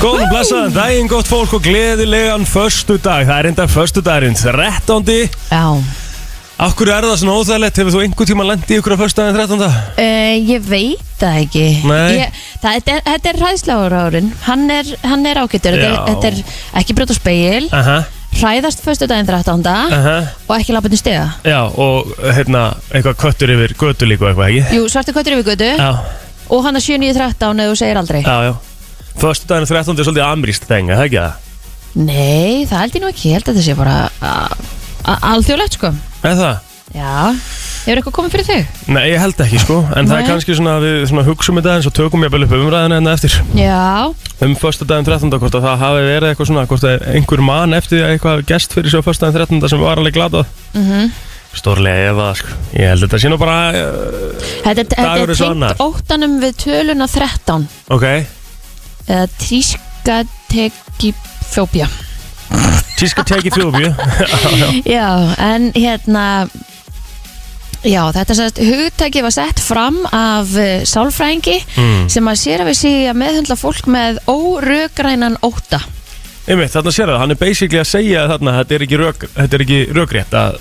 Góðan og blessaðan daginn, gott fólk og gleðilegan förstu dag. Það er enda förstu dagurinn, 13. Já, Akkur er það svona óþægilegt, hefur þú einhver tíma lendi í ykkur á förstu daginn 13. uh, ég veit það ekki Nei. ég, það, þetta er- Þetta er hræðsláður árin Hann er, hann er ágættur þetta er, Já. Eh. þetta er ekki brjóta speil Aha, Hræðast föstu daginn 13. aha, Og ekki lappinu stiga já og hérna eitthvað köttur yfir götu líka og eitthvað, ekki? Jú, svartu köttur yfir götu Já, Og hann er 7.9.13 ef þú segir aldrei já, já. Förstu daginn 13. er svolítið amrýst þeng, er það ekki það? Nei, það held ég nú ekki Ég held að þetta sé bara a- a- alþjóðlegt sko Er það? Já Hefur eitthvað komið fyrir þig? Nei, ég held ekki sko, en Nei. það er kannski svona að við svona hugsum þetta eins og tökum ég upp umræðina hérna eftir Já, um föstudaginn 13. hvort að það hafi verið eitthvað svona hvort að einhver mann eftir því að eitthvað hafi gerst fyrir svo föstudaginn 13. sem var alveg glatað Mhm. -hmm. Stórlega ef að sko. ég held þetta sé nú bara uh, þetta, þetta Dagur er er svo annar. tengt óttanum við töluna 13 ok, eða trískatekifjóbja tíska tekið þjófju Já, en hérna Já, þetta sem sagt, hugtæki var sett fram af uh, sálfræðingi Mm. sem að sér að við sé að meðhundla fólk með órögrænan óta Einmitt, þarna sér það, hann er basically að segja þarna, þetta er ekki, rök, þetta er ekki rökrétt að,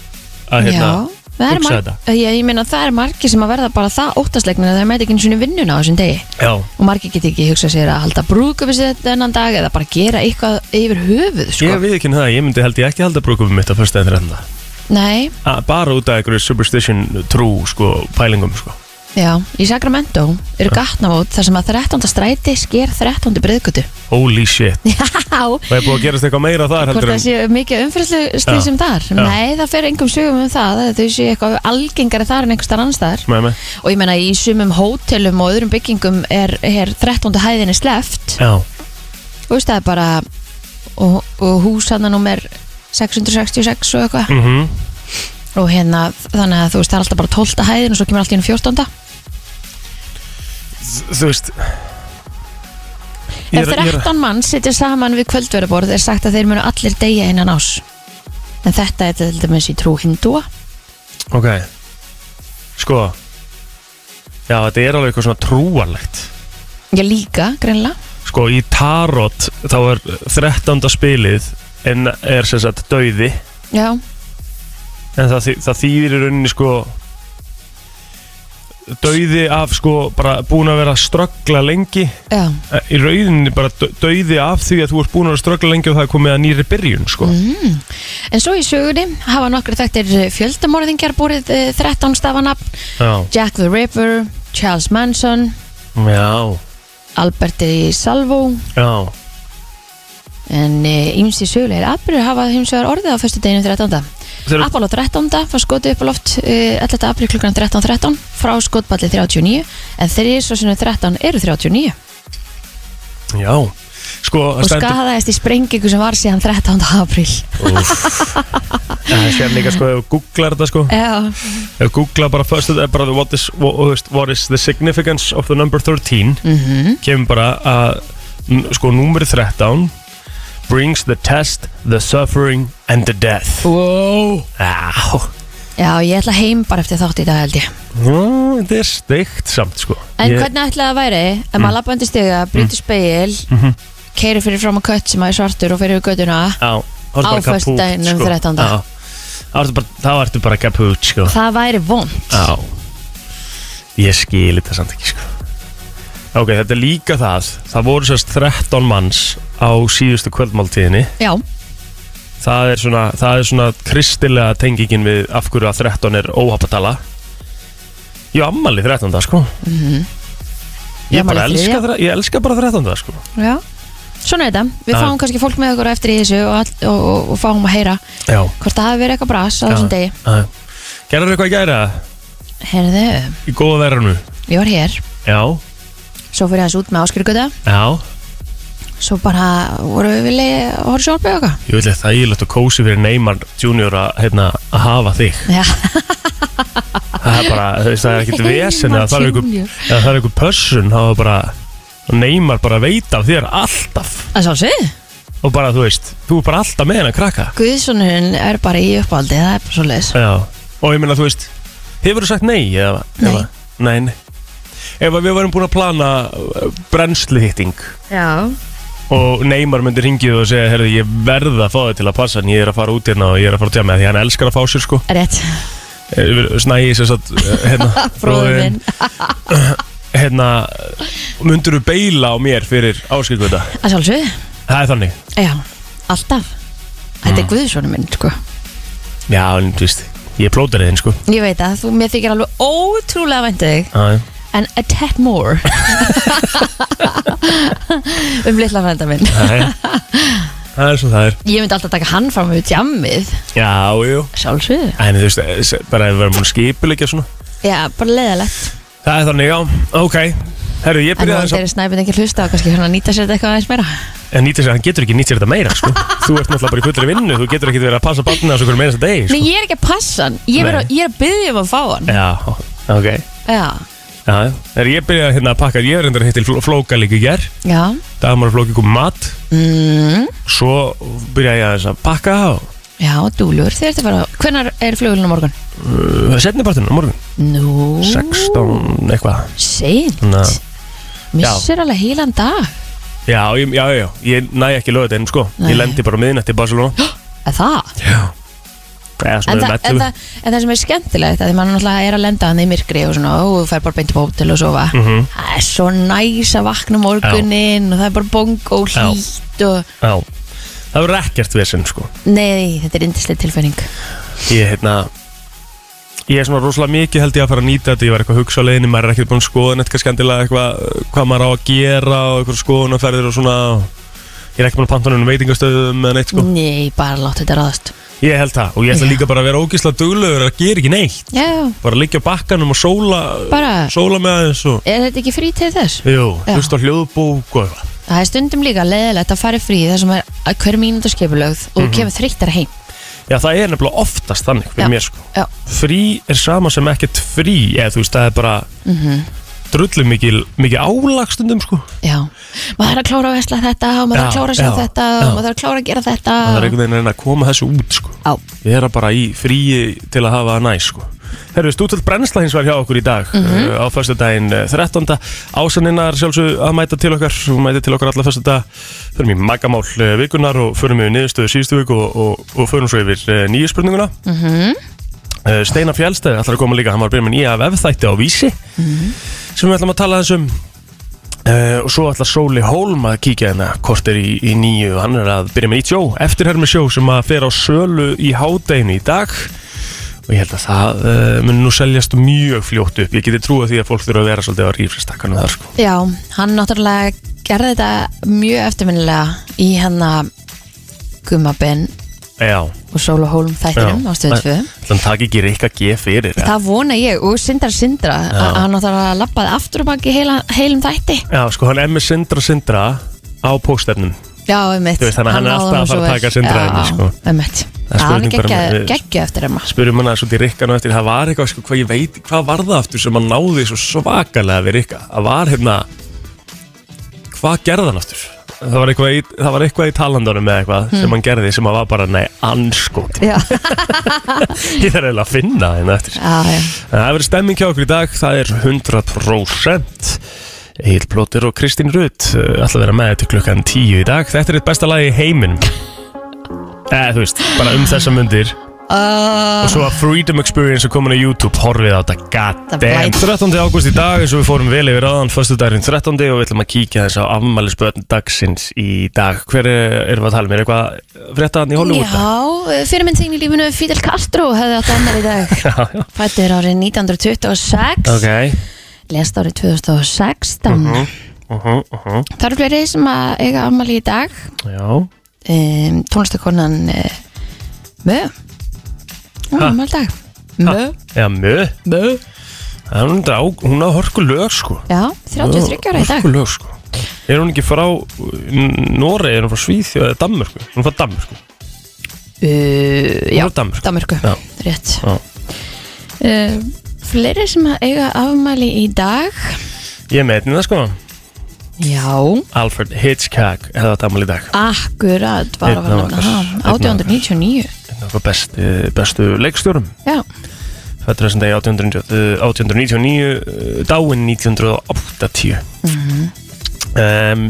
að hérna, Já, það er hugsa marg, ég, ég meina það er margi sem að verða bara það óttaslegnir að það mæti ekki einu sinni vinnuna á þessum degi já, og margi geti ekki hugsað sér að halda brúkupi sér þennan dag eða bara gera eitthvað yfir höfuð sko. ég við ekki það ég myndi held ég ekki halda brúkum mitt á föstudaginn 13. Nei, Að- bara út af einhverju superstition trú, sko, pælingum, sko já, í Sacramento eru gatnavót þar sem að 13. stræti sker 13. breyðgötu holy shit, Já, það er búið að gerast eitthvað meira þar hvort heldur það en sé mikið umfyrslu slísum þar Nei, það fer engum sögum um það að þau séu eitthvað algengari þar en einhver starf annars þar með mig og ég meina í sumum hótelum og öðrum byggingum er, er 13. hæðinni sleft Já, og veist það er bara og, og hús hann er 666 og eitthvað mhm og hérna þannig að þú veist það er alltaf bara 12. hæðin og svo kemur allt í hennu 14. þú veist Ef 13 mann sittir saman við kvöldverðaborð er sagt að þeir munu allir deyja innan ás en þetta er til dæmis í trú hindúa Ok Sko Já, þetta er alveg eitthvað svona trúarlegt Já líka, greinlega Sko, í tarot þá er 13. spilið en er sem sagt dauði Já, en það, þý- það þýðir í rauninni sko dauði af sko bara búin að vera að ströggla lengi já Eh, í rauninni bara dau- dauði af því að þú ert búin að vera að ströggla lengi og það er komið að nýri byrjun sko En svo í sögunni hafa nokkri þekktir fjöldamorðingjar búrið eh, 13 stafanafn Já, Jack the Ripper, Charles Manson, já, Alberti Salvo já en ímsi sögulegir atbyrður hafa hins vegar orðið á fyrstu deginu 13. Þeir eru Apollo 13. var skotið upp á loft eh, 11. apríl klukkan 13.13 frá skotballi 39 en þeirri svo sinni 13 eru 39 Já, sko það og stendur- skadaðist í sprengingu sem var síðan 13. apríl Það sér líka sko, ef þú googlar þetta sko Já, Ef þú googlar bara first þetta er bara what is, what, þú veist, what is the significance of the number 13 Mhm. Kemur bara að n- sko númeri 13 Brings the test, the suffering and the death wow. Já, Já, ég ætla heim bara eftir þátt í dag held ég Nú, þetta er steikt samt sko En Ég- Mm. hvernig ætlaði það væri ef maður lappa undir stiga, brýtur speil mm Mhm. keiri fyrir fram á kött sem maður er svartur og fyrir við göttuna Já, þá ertu bara Á um föstudeginum kaput, sko. 13. Já, þá ertu bara, þá ertu bara kaput sko það væri vond Já Ég skil þetta samt ekki sko Ok, þetta er líka það Það voru sérst 13 manns á síðustu kvöldmáltíðinni Já, Það er svona, það er svona kristilega tengingin við af hverju að 13 er óhapatala Ég á ammali 13. sko Ég á Ég bara afmæli elska, þriðja. þre- ég elska bara 13. sko já Svona er þetta, við Já. fáum kannski fólk með okkur eftir í þessu og, all- og, og, og fáum að heyra Já hvort það hafi verið eitthvað bras á þessum degi Gerður eitthvað í gæra? Herðu, Í góða verðinu? ég var hér Já, svo fyrir þessu út með áskyrgöta já svo bara voru við vilja að horfa sjálfböð okkar Ég vil eitthvað þægilegt og kósi fyrir Neymar Junior að hérna, að hafa þig Já, það er bara, þú veist, það er ekkert vesen eða það er einhver, Junior. eða það er einhver pössun þá er bara, neymar bara að veita af þér alltaf það sá sig og bara, þú veist, þú er bara alltaf með hennar krakka Guðssonurinn er bara í uppáldi, það er bara svo leis já, og ég meina, þú veist hefur þú sagt nei, eða Nei. eða, nei, nei. ef að við varum búin að plana uh, brennsluhitting Já, og Neymar myndi ringið og segja herði ég verð að fá þig til að passa en ég er að fara út hérna og ég er að fara út hérna því hann elskar að fá sér sko Rétt, Eh, snæi sér satt hérna, bróður minn hérna myndur þú beila á mér fyrir áskilkvita Að sjálfsög, það er þannig já, alltaf Þetta er guðsvonu minn, sko já en þú veist ég plótar þinn sko Ég veit að þú, mér þykir alveg ótrúlega væntu þig Æ. En a tad more Um litla frænda minn Æ. það er svo það er Ég myndi alltaf taka hann fram við tjammið já jú Sjálfsög en þú veist eh, se- bara ef við verðum búin að skipulegja svona Já, bara leiðalegt það er þannig já ok herru ég En byrjaði það Sko- þess að er snæpinn ekki að hlusta og kannski hérna nýta sér þetta eitthvað aðeins meira en nýta sér hann getur ekki nýtt sér þetta meira sko þú ert náttúrulega bara í fullri vinnu þú getur ekki verið að passa barnið þessu hverju meira þess að degi Nei, sko. ég er ekki að passa hann Ég er, Nei. að, ég er að byggja um að fá hann já ok Já, já er ég byrjaði hérna að pakka ég er reyndar hittil flóka líka í ger já dagmar flóki kom mat mm, svo byrjaði ég aðeins að pakka á Já, dúlur, þið ertu bara Hvenær er flugulinn á morgun? uh, setnipartinu á morgun Nú 16 eitthvað Seint Ná. Missir alveg hílan dag já, ég- já, já, já, ég næ ekki lögðu þetta sko Nei. ég lendi bara á miðnætti í Barcelona Er það? já eða En, það, svona um en, 11 það, en það sem er skemmtilegt að því mann náttúrulega er að lenda hann í myrkri og svona og fær bara beint upp á hótel og sofa Mhm. það er svo næs að vakna morguninn og það er bara bong og Já. hlýtt og já það verður ekkert vesen sko nei, þetta er indislega tilfinning ég hérna ég er svona rosalega mikið held ég að fara að nýta þetta ég var eitthvað að hugsa á leiðinni, maður er ekkert búin að skoða neitt eitthvað skandilega eitthvað uh, hvað maður á að gera og eitthvað skoðunarferðir og svona ég er ekki búin að panta nefnum veitingastöðum eða neitt sko nei, bara láta þetta ráðast ég held það og ég ætla Mm. Já. líka bara að vera ógislega duglegur að gera ekki neitt já, bara liggja á bakkanum og sóla Bara- sóla með aðeins og er þetta ekki frí til þess? jú, Já. hlusta á hljóðbók og eitthvað það er stundum líka leiðilegt að fara í frí þar sem er að hver mínútu skipulögð og Mhm. mm kemur þreyttar heim já, það er nefnilega oftast þannig fyrir Já. mér sko já, frí er sama sem ekkert frí eða þú veist, það er bara mm drullu mikil, mikil álagstundum sko Mhm. já maður er að klára að vesla þetta og maður er að Já, klára að sjá já, þetta já. og maður er að klára að gera þetta það er einhvern veginn að reyna að koma þessu út sko Já. vera bara í fríi til að hafa það næ sko Herru, stútöld brennsla hins var hjá okkur í dag uh, á föstudaginn eh, 13. Ásaninnar sjálfsög að mæta til okkar hún mæta til okkar alla föstudag förum í magamál eh, vikunar og förum við niðurstöðu síðustu viku og, og, og förum svo yfir eh, nýju spurninguna mm -hmm. Steinar Fjálstæði ætlar að koma líka hann var að byrja með nýja vefþætti á vísi sem við ætlum að tala þess um Uh, og svo ætla Sóli Hólm að kíkja hérna hvort er í, í nýju, hann er að byrja með nýtt sjó eftirhermi sjó sem að fer á sölu í hádeginu í dag og ég held að það uh, mun nú seljast mjög fljótt upp, ég geti trúið því að fólk þurfa að vera svolítið á rífristakkanum þar sko Já, hann náttúrulega gerði þetta mjög eftirminnilega í hennar Gummabinn Já, og Sóla Hólm þættinum á stöðu 2 Þannig að það ekki rikka G fyrir eða? Það vona ég og sindra sindra að hann náttúrulega lappaði aftur og baki heila, heilum þætti Já, sko hann er með Sindra Sindra á póstefnum Já, einmitt Þú veist, þannig að hann er náði alltaf honum að fara svo að vel. taka Sindra Já, hérna, sko. einmitt Það er Já, Hann spurning bara um geggja, með- geggja eftir emma sko. Spurðum hann að svolítið rikkan og eftir það var eitthvað, sko, hvað ég veit, hvað var það aftur sem hann náði svo svakalega við rikka það var hérna hvað gerði hann aftur? Það var eitthvað í, það var eitthvað í talandunum eða eitthvað sem hann gerði sem hann var bara, nei, anskot Já, ég þarf eiginlega að finna það hérna eftir já, já Það verður stemming hjá okkur í dag, það er 100% Egil Plóter og Kristín Rutt ætla að vera með til klukkan 10 í dag Þetta er eitt besta lag í heiminum Eh, þú veist, bara um þessa mundir Uh, Og svo að Freedom Experience er komin á YouTube Horfið á þetta, Það goddamn blæs. 13. ágúst í dag, eins og við fórum vel yfir áðan Föstu dagurinn 13. og við ætlum að kíkja þess á afmælisböðn dagsins í dag Hver er- erum við að tala um? Er eitthvað fréttaðan í Hollywood? já, fyrirmynd þín í lífinu Fidel Castro hefði átt ammar í dag Já, já. Fættur árið 1926 Ok lest árið 2016 uh -huh, uh Það eru fleiri sem að eiga afmæli í dag Já um, Tónlistakonan uh, Mö Hún Ha. er afmæli í dag Mö, Já, mjög mö Hún, drá, hún á hörku lög sko Já, 33 ára í dag Hörku lög sko Er hún ekki frá Nóri, er hún frá Svíþjóð eða Danmörku? Hún er frá Danmörku uh, Hún Já, er frá Danmörku Danmarku Já. Rétt Já. uh, Fleiri sem að eiga afmæli í dag Ég er með einnig það sko Já, Alfred Hitchcock hefði átt afmæli í dag akkurat var að Einn vera af nefna okkar. það 1899 Einn af okkar bestu, eh, bestu leikstjórum Já, Fættur þessum degi 1890 eh, 1899 Dáin 1980 mm um, Það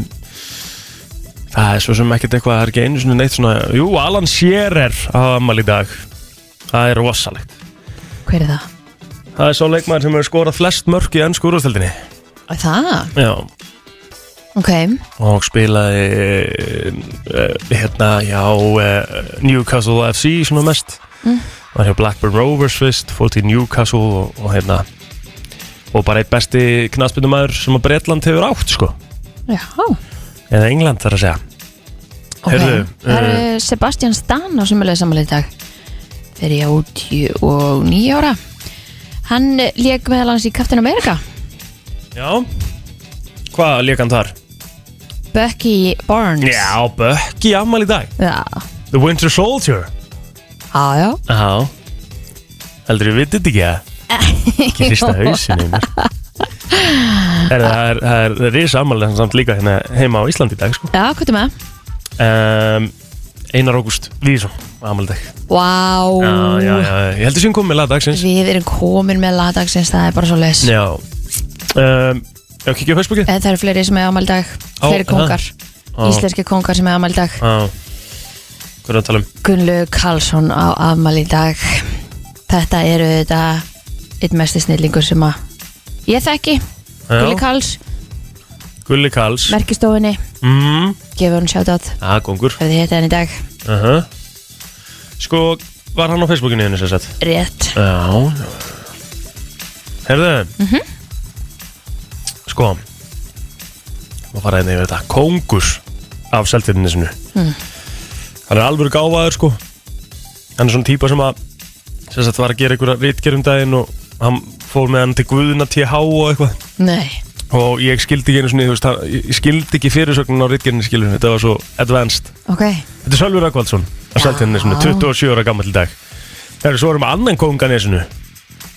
Það er svo sem ekkert eitthvað, það er ekki einu svona neitt svona Jú, Alan Shearer hafa ammali í dag Það er rosalegt Hver er það? Það er svo leikmaður sem hefur skorað flest mörk í ennsku úrvastöldinni Æ, Það? Já Ok, Og spilaði uh, hérna, já, uh, Newcastle FC svona mest Var hjá Blackburn Rovers fyrst, fór til Newcastle og, og hérna Og bara eitt besti knassbyndumæður sem að Bretland hefur átt, sko já Eða England þarf að segja Ok, Heyrðu, það eh, er Sebastian Stan á sumulega samanlega í dag Þegar ég á 29 ára Hann eh, lék meðal hans í Captain America Já Hvað leik hann þar? Bucky Barnes Já, Bökki afmæli í dag Já, The Winter Soldier já, já. Já Heldur ég vitið þetta ekki að Ekki hrista hausinu mér Er það er, það er, það er risa afmæli hann samt líka hérna heima á Íslandi í dag sko Já, hvað er með? um, Einar Ágúst Lýðsson afmæli í dag Vá Já, já, já Ég heldur sem komið með lagdagsins Við erum komin með lagdagsins, það er bara svo les Já um, Já, kíkja á Facebooki En það eru fleiri sem er ámæli dag Á, Fleiri kongar, Á. íslenski kongar sem er ámæli dag Já Hvað er að tala um? Gunnlaug Karlsson á afmæli í dag Þetta eru þetta eitt mesti snillingur sem að ég þekki, Gulli Já, Karls Gulli Kals merkistofinni, Mm, Ah, gefur hann sjátt Já, góngur ef þið heita hann í dag, uh Sko, var hann á Facebookinu henni sem sagt? rétt Já Herðu Sko Má fara einnig yfir þetta Kóngur af seltirninni sinu Hann er alveg gáfaður sko Hann er svona típa sem að sem sagt var að gera einhverja rítgerum daginn og hann fór með hann til Guðuna TH og eitthvað Nei, og ég skildi ekki einu sinni, þú veist, hann- ég ég skildi ekki fyrirsögnun á rítgerinni skilur, þetta var svo advanced ok Þetta er Sölvi Rökkvaldsson að selta henni svona 27 ára gammal í dag Það eru svo erum við annan kongan í þessinu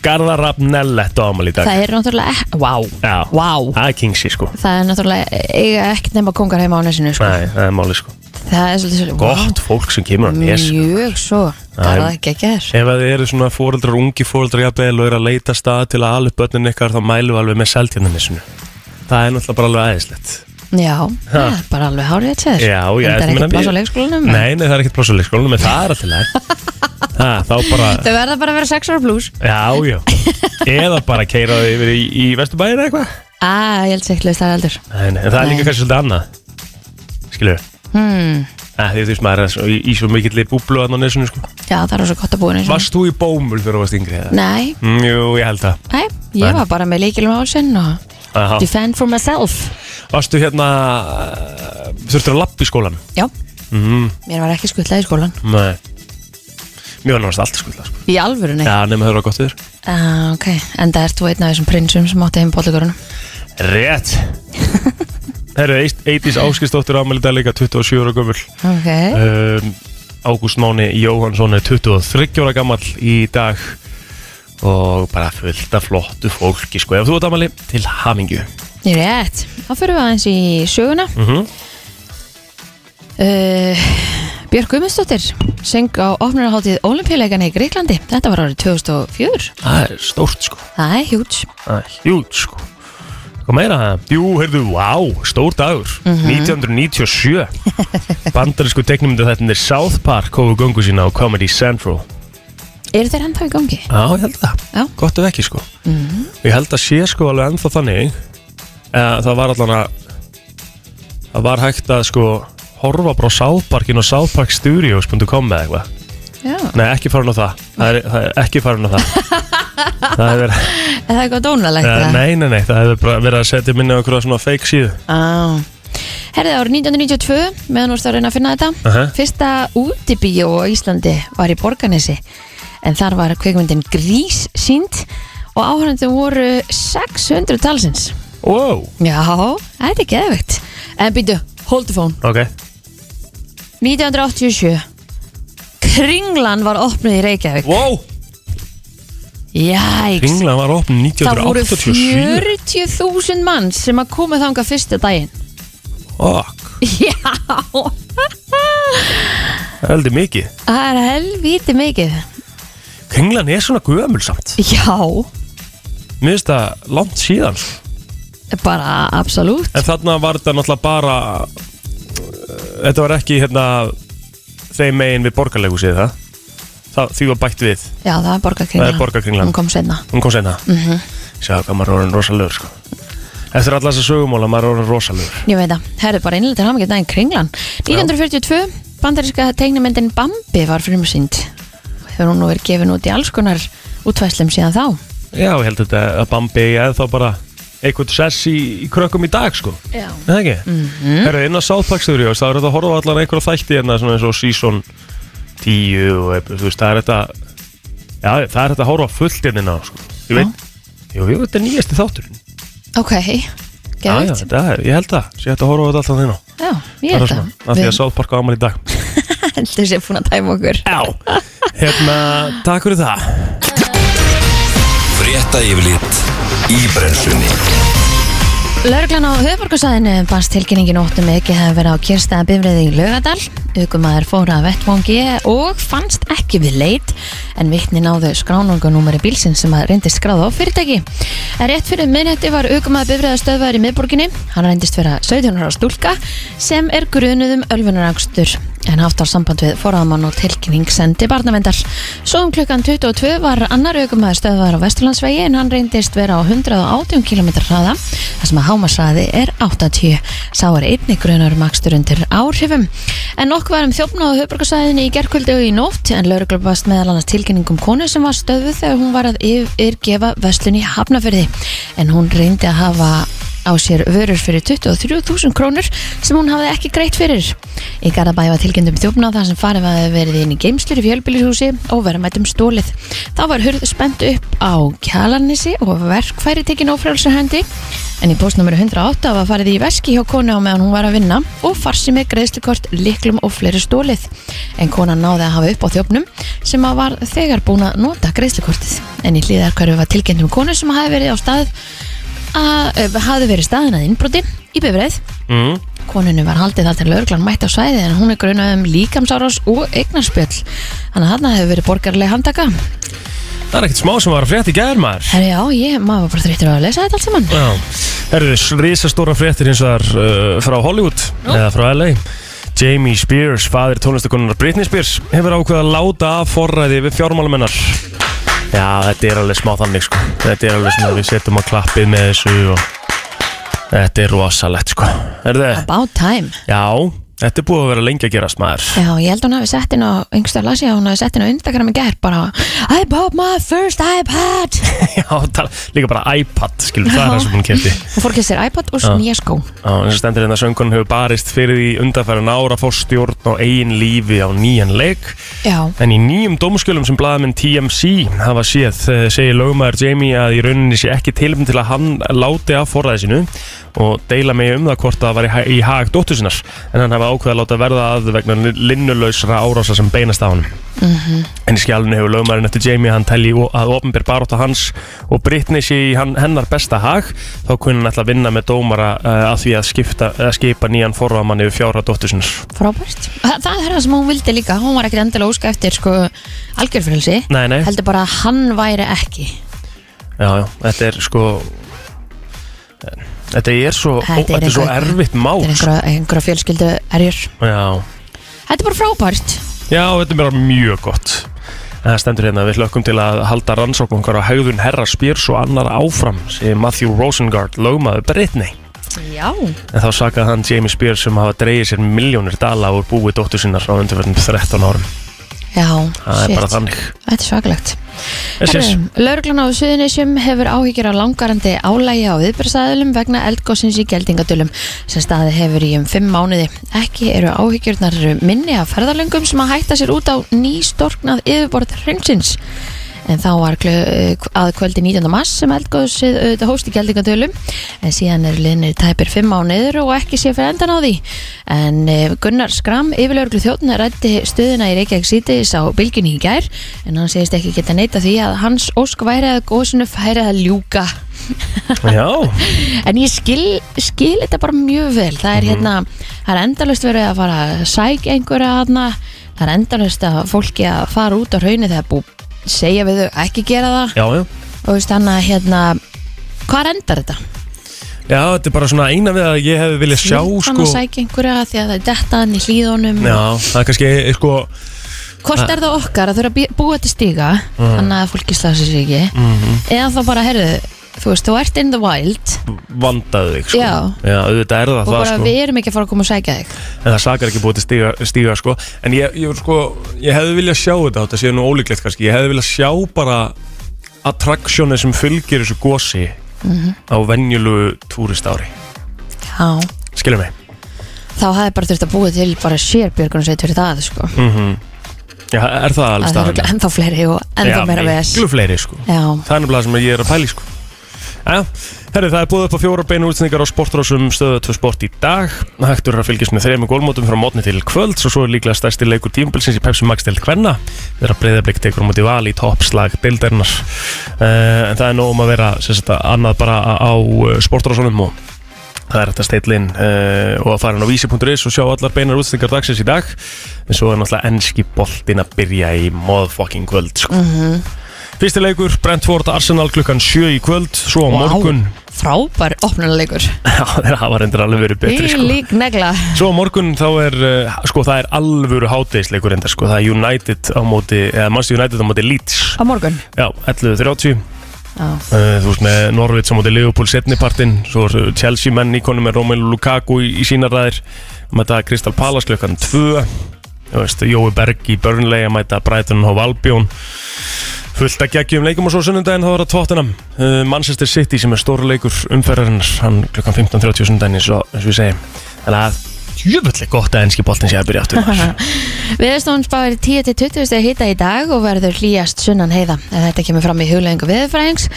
Garðar Rapp Nellett á amal í dag Það er náttúrulega, ek- vá, Já, vá það er kingsi sko Það er náttúrulega, eiga ekkert nema kongar heima á nesinu sko. Nei, það er máli sko Það er svolítið svolítið Gott sko. fólk sem kemur á vá, nes Mjög svo, það er það ekki ekki þér Ef að þið eru svona fóreldrar, ungi fóreldrar jafnvel og eru að leita stað til að ala upp börnin ykkar þá mælum við alveg með seltjarnanissinu Það er náttúrulega bara alveg aðeinslegt Já, það er bara alveg hárið þetta þér Já, já, Það er ég meina, ekki pláss á ég- leikskólanum Nei, nei, það er ekkert plásuleik sko, menn það er alltaf leik Þá bara, Þau verða bara að vera 6 ára pluss já, já Eða bara keiraðu yfir í, í Vesturbæin eða eitthvað Æ, ég held sér ekki löst það er aldur Nei, nei, en það er líka Nei. kannski svolítið annað Skilju hmm. Því þú veist maður er svo, í, í svo mikill búblu að nesunu sko Já, það er svo gott að búa eins Varst þú í bómul þegar þú varst yngri eða? Nei, Mm, jú, ég held það nei, ég var bara með líkilum álsinn og Aha. defend for myself Varstu hérna eh, Þurftur að lappa í skólan? Já, Mm, mér var ekki skutlað í skólan nei Mér var náttúrulega alltaf skulda sko Í alvöru, nei Já, nema þau eru að gott yfir Ah, Ok, en það ert þú einn af þessum prinsum sem átti heim bóllugurinn Rétt Herru, Eitís Áskistóttir ámæli dag líka 27 ára gömul Ok, um, Ágúst Máni Jóhansson er 23 ára gammal í dag og bara fullt af flottu fólki sko ef þú ert amali til hamingju ég er rétt Þá fyrir við aðeins í söguna mm -hmm. uh, Björk Guðmundsdóttir söng á opnunarhátið Olimpíuleikana í Greiklandi Þetta var árið 2004 það er stórt sko Það er hjúts það er hjút sko hvað meira það? Jú, heyrðu, vá, stór dagur 1997 bandarísku teknumundu þetta er South Park hófu gungu sína á Comedy Central Eru þeir ennþá í gangi? Já, ég held það, Já. Mhm. gott ef ekki sko Ég held að sé sko alveg ennþá þannig eða það var allan að það var hægt að sko horfa bara á South Parkin og southparkstudios.com eða eitthvað Já, Nei, ekki farin á það, það er, það er ekki farin á það Það hefur er það eitthvað dónalegt? uh, eða? Nei, nei, nei, það hefur bara verið að setja minni á einhverja svona fake síðu Á. Herðið árið 1992 meðan úrst að reyna að finna þetta Aha. Fyrsta útibíó á Íslandi var í Borganesi en þar var kveikmyndin Grís sínd og áhörðandum voru 600 talsins Wow, Já, þetta er geðvegt En býtu, hold the phone ok 1987 Kringlan var opnuð í Reykjavík Wow, Jæks England var opnum Það voru 1987 40.000 mann sem að koma þangað fyrsta daginn Ok, Já það er heldur mikið Það er helvítið mikið England er svona gömul samt Já Mér finnst það langt síðan sko Bara absolutt En þarna var þetta náttúrulega bara eh, þetta var ekki hérna þeim megin við borgarlegu séð það. það því var bætt við, Já, það er borgarkringlan. það er borgarkringlan Hún kom senna. hún kom senna mm -hmm. sjá hvað maður er orðin rosalegur sko. eftir alla þessa sögumóla maður er orðin rosalegur Ég veit það, herðu bara innlega til hafmyggjum daginn kringlan 1942, bandaríska teiknumyndin Bambi var frumsýnd Hefur hún nú verið gefin út í alls konar útfæslum síðan þá já, ég held þetta að Bambi eða þá bara eitthvað sess í, í krökkum í dag sko. Já Er það ekki? Mm -hmm. Herra, inn á South Park Studios, það er þetta að horfa á allan einhverja þætti hérna svona eins og season 10 og eitthvað, þú veist, það er þetta já, það er þetta að horfa á fullt hérna inn á, sko. Ég veit, jú, jú, þetta er nýjasti þátturinn. Ok, Já, Ah, já, geðvægt þetta er, ég held það, sé þetta að horfa á þetta allan inn á. Já, ég Það held er svona, af það því Við að South Park á amal í dag. heldum sér búin að tæma okkur Já, hérna, takk fyrir það. Frétta yfirlit í brennslunni Lörglan á höfuborgarsæðinu bannst tilkynningin óttum ekki hefði verið á kyrstaða bifriði í Laugadal. Ökumæður fóra að vettvangi og fannst ekki við leit en vittni náðu skránungunúmeri bílsinn sem að reyndist skráða á fyrirtæki. En rétt fyrir minnetti var ökumæður bifriða stöðvæður í miðborginni. Hann reyndist vera 17 ára stúlka sem er grunuð um ölfunarangstur en haft á samband við foraðamann og tilkynning sendi barnavendar. Svo um klukkan 22 var annar aukumæður stöðvar á Vesturlandsvegi en hann reyndist vera á 118 km hraða þar sem að hámasraði er 80. Sá er einni grunar makstur undir áhrifum. En nokkuð var um þjófna á höfbrukarsæðinni í gerkvöldi og í nótt en lögreglum varst meðal annars tilkynningum konu sem var stöðuð þegar hún var að yf- yfirgefa vestlun í Hafnafyrði en hún reyndi að hafa á sér vörur fyrir 23.000 krónur sem hún hafði ekki greitt fyrir. Í Garðabæi var tilkynntum þjófna þar sem farið var verið inn í geimslur í fjölbýlishúsi og verðmættum stólið. Þá var hurð spennt upp á kjalanissi og verkfæri tekin ófrælsar hendi en í postnúmeru 108 var farið í veski hjá konu á meðan hún var að vinna og farsi með greiðslukort, liklum og fleiri stólið. En konan náði að hafa upp á þjófnum sem að var þegar búin að nota greiðslukortið. En í hlýðarkverfi var tilkynntum konu sem hafi verið á stað að ö, hafði verið staðin að innbroti í bifreið. Mm. Konunni var haldið þar til lögreglan mætt á svæði en hún er grunað um líkamsárás og eignarspjöll. Þannig að þarna hefur verið borgarlega handtaka. Það er ekkert smá sem var að frétt í gær, maður. Herri já, ég, maður var bara þreyttur á að lesa þetta allt saman. Já, herðu, risastóra fréttir hins vegar uh, frá Hollywood eða frá LA Jamie Spears, fadir tónlistakonunnar Britney Spears hefur ákveð að láta af forræði við fjármálumennar Já, þetta er alveg smá þannig sko Þetta er alveg svona, við setjum að klappið með þessu og þetta er rosalegt sko Herðu, About time. já, þetta er búið að vera lengi að gerast maður Já, ég held hún hafi sett inn á, yngstöð las ég að hún hafi sett inn á Instagram í gerð bara I bought my first iPad. Já, það, líka bara iPad, skilur, það er það sem hún kefti Hún fór ekki sér iPad og snýjaskó. Já, eins og stendur hérna söngun hefur barist fyrir því undanfærin ára fór stjórn á eigin lífi á nýjan leik Já, en í nýjum dómskjölum sem blaðamenn TMC hafa séð eh, segir lögumæður Jamie að í rauninni sé ekki tilfum til að hann láti af forræði sinu og deila með um það hvort það var í, ha- í hag dóttur sinnar en hann hafa ákveða að láta verða að vegna linnulausra árása sem beinast á hann En í skjálunni hefur lögmaðurinn eftir Jamie hann telji o- að ofnbér baróta hans og Britney sé í hann, hennar besta hag þá kunni hann ætla að vinna með dómara uh, að því að, skipta, að skipa nýjan forvamann yfir fjára dóttusins. frábært. Það, það er það sem hún vildi líka. Hún var ekkert endilega óska eftir sko algjörfrelsi. Nei, nei, Heldur bara að hann væri ekki. já, já, þetta er sko þetta er svo, Þetta er ó, þetta er svo eitthvað- erfitt mál. sko. Þetta er einhverja, einhverja fjölskyldu erjur Já, Þetta er bara frábært já, þetta er bara mjög gott. En Það stendur hérna, við hlökkum til að halda rannsókn okkar á haugðun Herra Spears og annar áfram, segir Matthew Rosengard, lögmaður Britney. Já En þá sakaði hann Jamie Spears sem hafa dreigið sér miljónir dala úr búið dóttur sinnar á undirverðin 13 árum. Já, Það er bara þannig. Þetta er svakalegt Yes, yes. um. Lörglan á Suðunisjum hefur áhyggjur á langarandi álægi á viðbyrðsæðilum vegna eldgóssins í geldingadölum sem staði hefur í um fimm mánuði Ekki eru áhyggjurnar minni af ferðalöngum sem að hætta sér út á nýstorknað yfirborð hrengsins en þá var klö- að kvöldi 19. mars sem eldgóðsið auðvitað hóst í geldingadölum en síðan er linnir tæpir fimm á niður og ekki sé fyrir endan á því en eh, Gunnar Skram, yfirlörglu þjóttun rætti stöðuna í Reykjavík sítiðis á bylginni í gær en hann segist ekki geta neita því að hans ósk væri að góðsunu færi að ljúka Já, en ég skil, skil þetta bara mjög vel það er hérna, það er endalust verið að fara að sækja einhverja hana það er endalust að fólki að fara út á raunni þegar búið segja við þau ekki gera það já, já. og þú veist hann að hérna hvað endar þetta? Já, þetta er bara svona eina við að ég hefði viljað sjá Þannig sko, að sækja einhverja af því að það er dettaðan í hlýðunum Já, það er kannski sko, Hvort er það okkar að þurfa að bí- búa til stíga Mhm. Þannig að fólki slasa sig ekki Eða þá bara, herðu, þú veist, þú ert in the wild vandaðu þig sko. Já. auðvitað er það Og það bara sko. við erum ekki að fara að koma og sækja þig En það sakar ekki búið til stíga, stíga sko. En ég, ég, sko, ég hefði viljað sjá þetta Þetta séu nú ólíklegt kannski Ég hefði viljað sjá bara attraksjónið sem fylgir þessu gosi Mhm. á venjulu túrist ári Já, Skilum mig þá hefði bara þurft að búa til bara sérbjörgunarsveit fyrir það, sko Mm, Já, er það Það alveg staðan? eru ennþá fleiri og ennþá meira ves Miklu fleiri sko Já, Það er nefnilega sem ég er að pæli sko Já, herri, það er búið upp á fjóra beinu útsendingar á sportrásum stöðu 2 sport í dag Hægtur að fylgjast með þrejum gólmótum frá mótni til kvöld og svo er líklega stærsti leikur tímabilsins í Pepsi Max deild Kvenna þegar breyðablik tekur á móti val í toppslag deildarinnar uh, en það er nóg um að vera sem sagt, annað bara á eh, sportrásunum og Það er hægt að steitla inn uh, og að fara hann á vísi.is og sjá allar beinar útsendingar dagsins í dag en svo er náttúrulega ennski boltinn að byrja í motherfucking kvöld sko. Fyrsti leikur, Brentford Arsenal klukkan 7 í kvöld Svo á Vá. morgun frábær opnulegur Já, það var endur alveg verið betri Í sko. lík negla Svo á morgun þá er uh, sko, það er alvöru hátegisleikur enda, sko. það er United á móti eða Manchester United á móti Leeds Á morgun Já, 11.30 Já, Uh, Þú veist með Norvits á móti Liverpool setnipartin Svo er Chelsea menn íkonum með Romelu Lukaku í, í sína ræðir Að Mæta Kristal Palace klukkan 2 Þú veist, Jói Berg í Burnley að Mæta Brighton og Valbjón Fullt að geggjum leikum og svo sunnundaginn þá er það tóttunum uh, Manchester City sem er stóru leikur umferðarinn Hann klukkan 15.30 sunnundaginn eins og eins og við segjum Þannig að jöfnvöldlega gott að enski boltin sé að byrja aftur maður. Viðstofan spáir 10-20 steg hita í dag og verður hlýjast sunnan heiða. En Þetta kemur fram í huglegingu viðfræðings.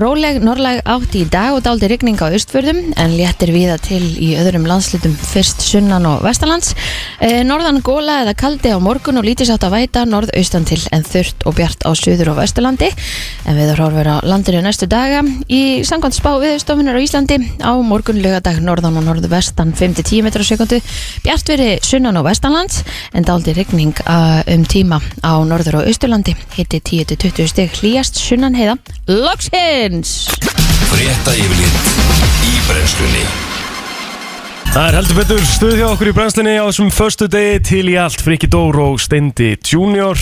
Róleg norrlæg átt í dag og dáldi rigning á austfjörðum en léttir viða til í öðrum landslutum fyrst sunnan og vestalands. Eh, Norðan góla eða kaldi á morgun og lítisátt að væta norðaustan til en þurrt og bjart á suður og vesturlandi. En við horfur á landinu næstu daga. Í samkvæmt spá viðstofunar á Íslandi á morgun lögadag norðan og norðvestan 5-10 metrar á sekundu. Bjart veri sunnan og vestanlands en dáldi rigning uh, um tíma á norður og austurlandi hitti 10-20 stig hlýjast sunnan heiða loksins Frétta yfirlit í brennslunni Það er heldur betur stuð hjá okkur í brennslinni á þessum förstu degi til í allt Friki Dór og Steindi Junior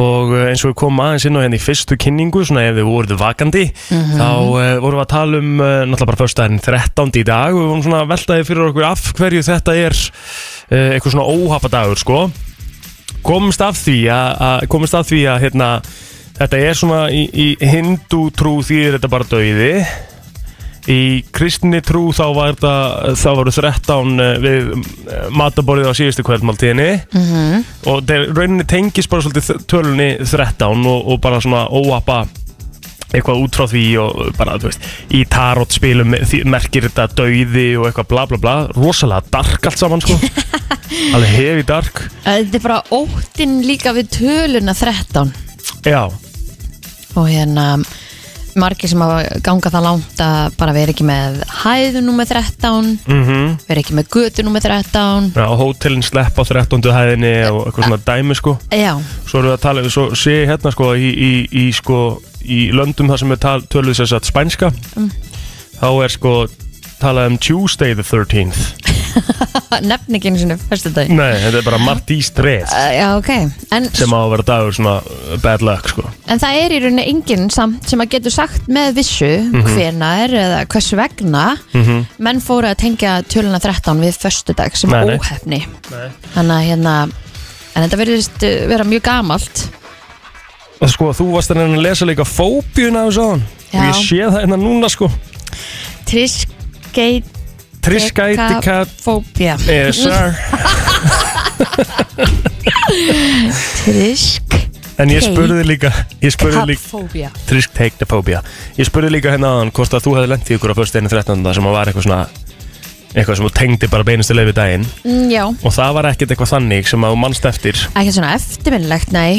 og eh, eins og við komum aðeins inn á henni í fyrstu kynningu, svona ef við voruð vakandi þá uh, vorum við að tala um uh, náttúrulega bara förstu daginn 13. í dag og við vorum svona veltaði fyrir okkur af hverju þetta er uh, eitthvað svona óhafadagur sko komumst af því að, að komumst af því að hérna þetta er svona í, í hindu trú þýðir þetta bara döiði Í kristinni trú þá var það, þá voru 13 eh, við eh, mataborðið á síðustu kvöldmáltíðinni Mhm. og þeir rauninni tengist bara svolítið tölunni 13 og, og bara svona óapa eitthvað út frá því og bara, þú veist, í tarotspilum því- merkir þetta dauði og eitthvað bla bla bla, rosalega dark allt saman sko, alveg hefi dark Þetta er bara óttinn líka við töluna 13 Já, og hérna margir sem hafa gangað það langt að bara vera ekki með hæðu númer 13 mhm vera ekki með götu númer 13 Já, hótelin slepp á 13. hæðinni og eitthvað svona dæmi sko Já, Svo erum við að tala, svo sé ég hérna sko í, í, í, sko, í löndum þar sem er tal, töluð sér satt spænska þá er sko talað um Tuesday the 13th nefn ekki einu sinni fyrstu dag Nei, þetta er bara Martís 3 Mm. Uh, Já, ok en, sem á að vera dagur svona uh, bad luck sko En það er í rauninni enginn samt sem að getur sagt með vissu mm Mhm. hvenar eða hvers vegna menn fóru að tengja töluna 13 við föstudag sem Nei, nei. óhefni Þannig að hérna en þetta verðist uh, vera mjög gamalt Og sko, þú varst að reyna að lesa líka fóbjun af þessu áðan Já. og ég sé það hérna núna sko Triskeitika Triskætikat Fóbia Yes Eh, sir Trisk En ég spurði líka, ég spurði líka Fóbia Trisk teiknafóbía Ég spurði líka hérna aðan hvort að þú hefði lent í ykkur á fyrst einu 13. sem að var eitthvað svona eitthvað sem þú tengdi bara beinustu leið við daginn mm, Já, og það var ekkert eitthvað þannig sem að þú mannst eftir ekki svona eftirminnlegt, nei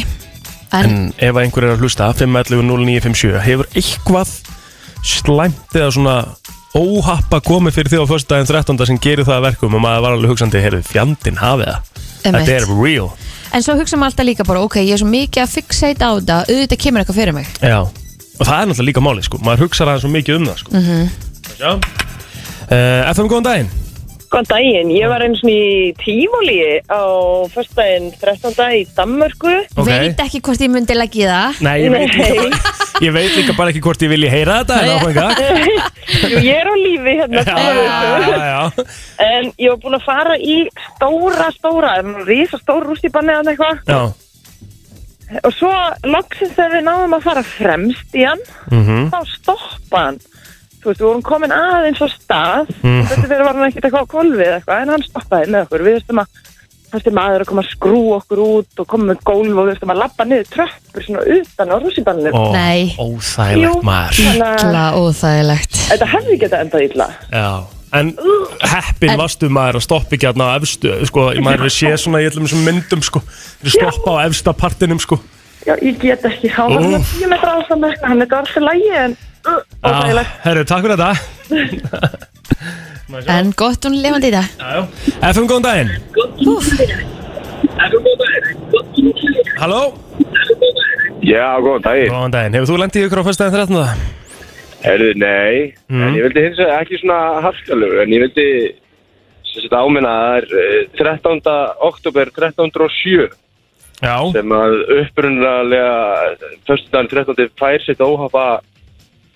en En, ef að einhver er að hlusta 511-0957 hefur eitthvað slæmt eða svona óhappa komið fyrir því á fyrst daginn 13. sem gerir það að verkum og maður var alveg hugsandi heyrðu fjandinn hafið það Einmitt. Þetta er real en svo hugsa maður alltaf líka bara ok, ég er svo mikið að fixa eitt á þetta auðvitað kemur eitthvað fyrir mig Já, og það er náttúrulega líka málið sko, maður hugsar aðeins svo mikið um það sko. mm -hmm. Uh, FM, góðan daginn Góðan daginn, ég var eins og í tífóli á fyrstdaginn 13. í Danmörku Ok. Veit ekki hvort ég myndi leggja í það Nei, ég veit, Nei. líka, ég veit líka bara ekki hvort ég vilji heyra þetta en áfengar Jú, ég er á lífi hérna Já, já, já, En ég var búin að fara í stóra, stóra Rísa stór rústibanni eða eitthvað já. Og svo loksins þegar við náðum að fara fremst í hann Mhm. Þá stoppa hann Þú veist, við vorum komin aðeins á stað Mm. Þetta fyrir var hann ekkert eitthvað á golfið eða eitthvað En hann stoppaði með okkur Við veistum að Þessi maður að koma að skrú okkur út og koma með gólf og við veistum að labba niður tröppur svona utan á rússibanninu. Ó, Nei. Óþægilegt maður Ítla óþægilegt Þetta hefði getað endað illa. Já En heppin En- varstu maður að stoppa ekki hérna á efstu sko, maður við sé svona í öllum þessum myndum sko, þeir stoppa á efsta partinum sko. Já, ég get ekki. Há var hann Úff. Ah. tíu metra áfram með eitthvað, hann þetta var alltaf lægi en uh, Já, óþægilegt. herru, takk fyrir þetta En gott hún lifandi í dag já, já. FM, góðan daginn Úf, Halló, Já, góðan daginn. góðan daginn, hefur þú lendið ykkur á fyrstæðin 13. Herðu, nei. En ég vildi hins vegar ekki svona harkalögu, en ég vildi sem sagt áminna að það er eh, 13. oktober 1307 Já, sem að upprunalega fyrstudagen 13. fær sitt óhafa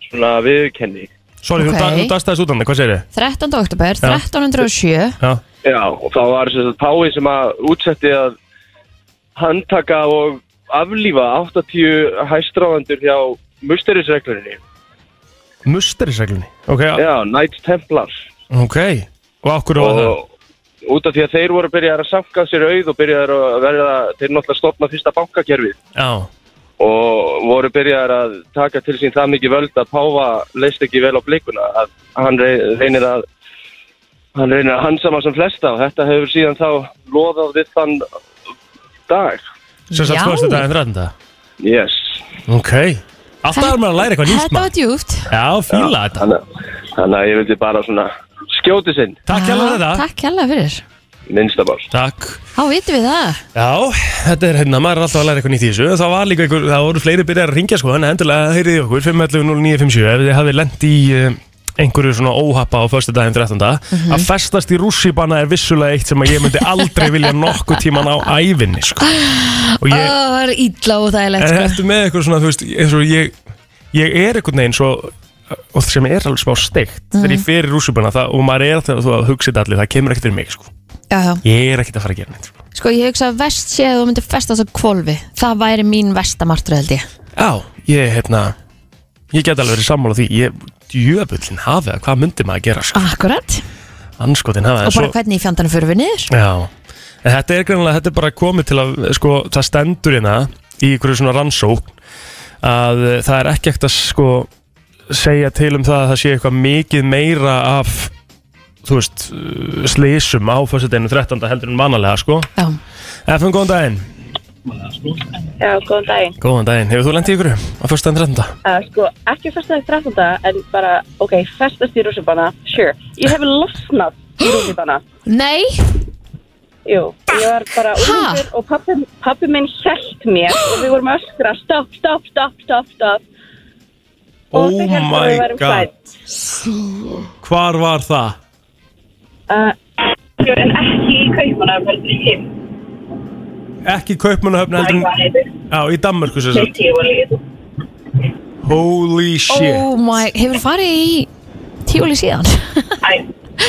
svona viðkenni. sorry, Ok. okay. þú dastaðist út hann, hvað segir þið? 13. oktober 1307 Já, Já, og það var sem sagt Pái sem að útsetti að handtaka og aflífa 80 hæstráðandur hjá musterisreglurinni. musterisreglunni Ok, Já, Knights Templars. ok Og okkur var það? og út af því að þeir voru byrjaðar að sanka sér auð og byrjaðar að verða þeir náttúrulega stofna fyrsta bankakerfið Já, og voru byrjaðar að taka til sín það mikið völd að Páfa leist ekki vel á blikuna að hann rey- reynir að hann reynir að hansama sem flesta og þetta hefur síðan þá loðað við þann dag sem sagt Já. fyrstæðin 13. yes Ok, alltaf er maður að læra eitthvað nýtt Þetta var maður djúft Já, fíla þetta þannig að- þannig að ég vildi bara svona skjóti sinn Takk hjá þetta Takk hérlega fyrir minnstabál Takk Há vitum við það Já, þetta er hérna, maður er alltaf að læra eitthvað nýtt í þessu Það var líka einhver, það voru fleiri byrjar að ringja sko Þannig að endilega heyriði okkur 511-0957 Ef þið hafið lent í eh, einhverju svona óhappa á föstu daginn 13. Mhm. Að festast í rússibanna er vissulega eitt sem að ég myndi aldrei vilja nokkuð tíman á ævinni sko Og Ó, ég, Eh. Það var ítla óþægilegt En sko. ertu með eitthvað svona, þú veist, eins og ég, ég er einhvern veginn svo, og sem er alveg smá steikt, þegar Mhm. ég fer í rússubana það, og maður er það, þú að hugsa þetta allir, það kemur ekkert fyrir mig, sko. Já, já Ég er ekkert að fara að gera neitt, sko. Sko ég hugsa að vest sé að þú myndir festast á kvolfi Það væri mín vestamartur held ég Já, ég, hérna, ég get alveg verið sammála því, ég, djöfullin hafi það, hvað myndi maður að gera, sko, Akkurat anskotin hafi Og það, bara hvernig í fjandanum fyrir við niður Já, en þetta er greinlega, þetta er bara komið til að, sko, það stendur hérna í einhverju svona rannsókn að eh, það er ekki ekkert að, sko, segja til um það að það sé eitthvað mikið meira af, þú veist, eh, slysum á fyrstudeginu 13. heldur en mannalega, sko. Já FM, góðan daginn. Já, góðan daginn. Góðan daginn, hefur þú lendið ykkur á fyrstudeginu 13. Uh, sko, ekki fyrstaði 13. en bara, ok, festast í rússibanna, sure. Ég hef losnað í rússibanna. Nei, Jú, ég var bara Ha? úr og pappi, pappi minn hjælt mér og við vorum að öskra, stopp, stopp, stopp, stopp, stopp. Og Oh þau héldu að við my værum god, hrædd. hvar var það? Uh, en ekki í kaupanum, heldur ég. Ekki kaupmannahöfn heldur en, já, í Danmörku, sér sagt. Holy shit. oh my Hefur farið í tíóli síðan?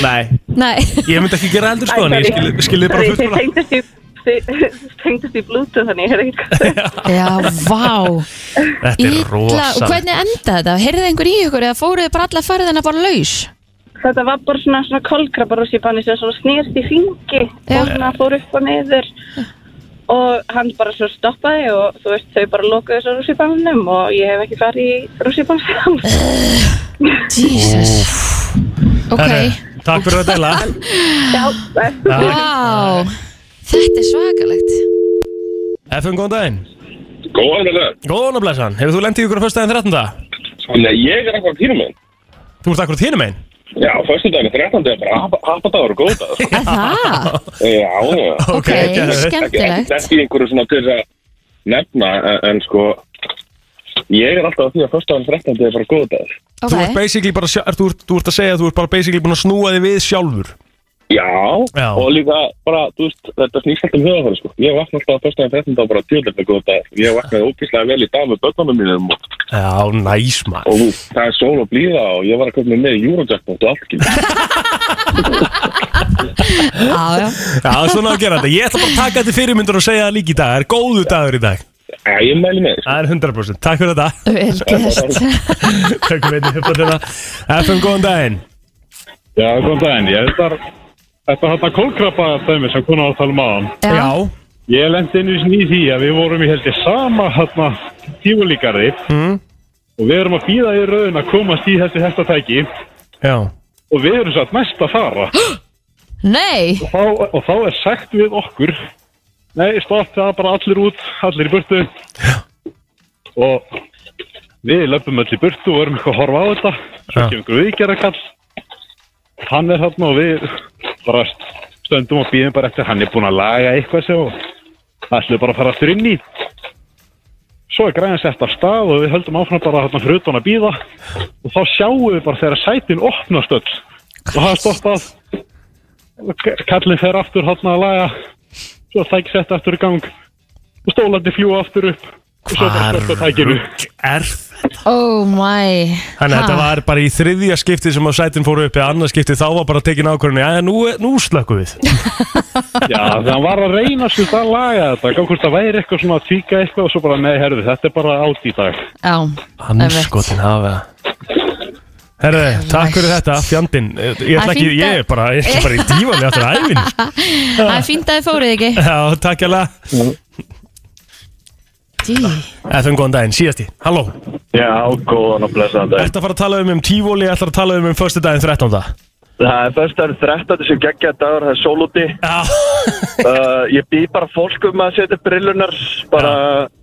Nei. Nei Ég myndi ekki gera eldur sko en ég skil- skil þið bara fullt bara tengdist í, þið tengdist í bluetooth þannig, ég hefði ekki hvað það. Já, vá Þetta er Ítla, og rosa hvernig endaði þetta? Heyrðu einhver í ykkur eða fóruðu bara alla ferðina bara laus? Þetta var bara svona, svona kolkrabar og síðan sem svona snýrst í hringi Já. og svona fór upp og niður og hann bara svo stoppaði og þú veist þau bara lokaði þessu rússibannum og ég hef ekki farið í rússibann síðan. Jesus Ok, Herru, Eh, Takk fyrir að deila vá Þetta er svakalegt FM, góðan daginn Góðan með það. Góðan að blessa hann, hefur þú lendið ykkur á fyrstæðin 13. Þannig að ég er eitthvað tíma minn. Þú ert akkur þínum einn Já, fyrstu daginn 13. er bara happadagur og góð dagur. Er það? Já, já. Ok, geðveikt. Ekki skemmtilegt ekki einhverju svona til þess að nefna, en, en sko, Ég er alltaf á því að fyrsta án 13. er bara góð dagur. Ok, Þú ert basically bara, sjá- er, þú, ert- þú ert að segja að þú ert bara basically búin að snúa þig við sjálfur Já, Já. og líka bara, þú veist, þetta snýst alltaf um hugafarið, sko. Ég vakna alltaf á fyrsta án 13. og bara djöldirna góð dagur. Ég vaknaði ógíslega vel í dag með börnunum mínum og, Já, næs maður og það er sól og blíða og ég var að köpa mig með í Eurojackpot og allt ekki. já, já Já, svona á að gera þetta Ég ætla bara að taka þetta í fyrirmyndur og segja það líka í dag Það er góðu dagur í dag Já, ég mæli með, sko. Það er 100% Takk fyrir þetta Vel gert Takk fyrir þetta upp á þetta FM, góðan daginn Já, góðan daginn. Ég þetta er þetta þetta kólkrabba dæmi sem konar að tala um aðan. Já, Ég lendi einu sinni í því að við vorum í heldur sama hérna tífulíkari Mm. og við erum að býða í raun að komast í þessi hestatæki Já, og við erum satt næst að fara nei þá, og þá er sagt við okkur nei, stopp, það er bara allir út allir í burtu og við löpum öll í burtu og erum eitthvað að horfa á þetta svo Já. kemur einhver viðgerðarkall hann er þarna og við bara stöndum og býðum bara eftir hann er búinn að laga eitthvað sem ætlum bara að fara aftur inn í svo er græðin sett af stað og við höldum áfram bara þarna fyrir utan að býða og þá sjáum við bara þegar sætin opnast öll og það er stoppað kallin fer aftur hátna að laga svo er tæki sett aftur í gang og stólandi fljúa aftur upp og svo bara slökkt á tækinu rugl er Oh my Þannig að Ha. þetta var bara í þriðja skipti sem að sætin fóru upp eða annað skipti þá var bara tekin ákvörðinu Já, nú, nú slökkum við já þannig að hann var að reyna sér að laga þetta gaf hvort það væri eitthvað svona að tvíka eitthvað og svo bara nei herðu þetta er bara átt í dag Já, Hanskotin hafa Herðu, takk fyrir þetta, fjandinn Ég Það ætla er ekki, fínt að- ég er bara, ég er bara í dífan Ég ætla að æfin það er fínt að þið fóruð ekki Já, takk alveg Dí, FM góðan daginn, síðasti, halló Já, góðan og blessaðan dag. Ertu að fara að tala um um tífóli, ég ætla að tala um um Föstu daginn 13. Það er fyrst að 13. sem geggja dagur, það er sól úti. Já, Uh, ég býð bara fólk um að setja brillunar, bara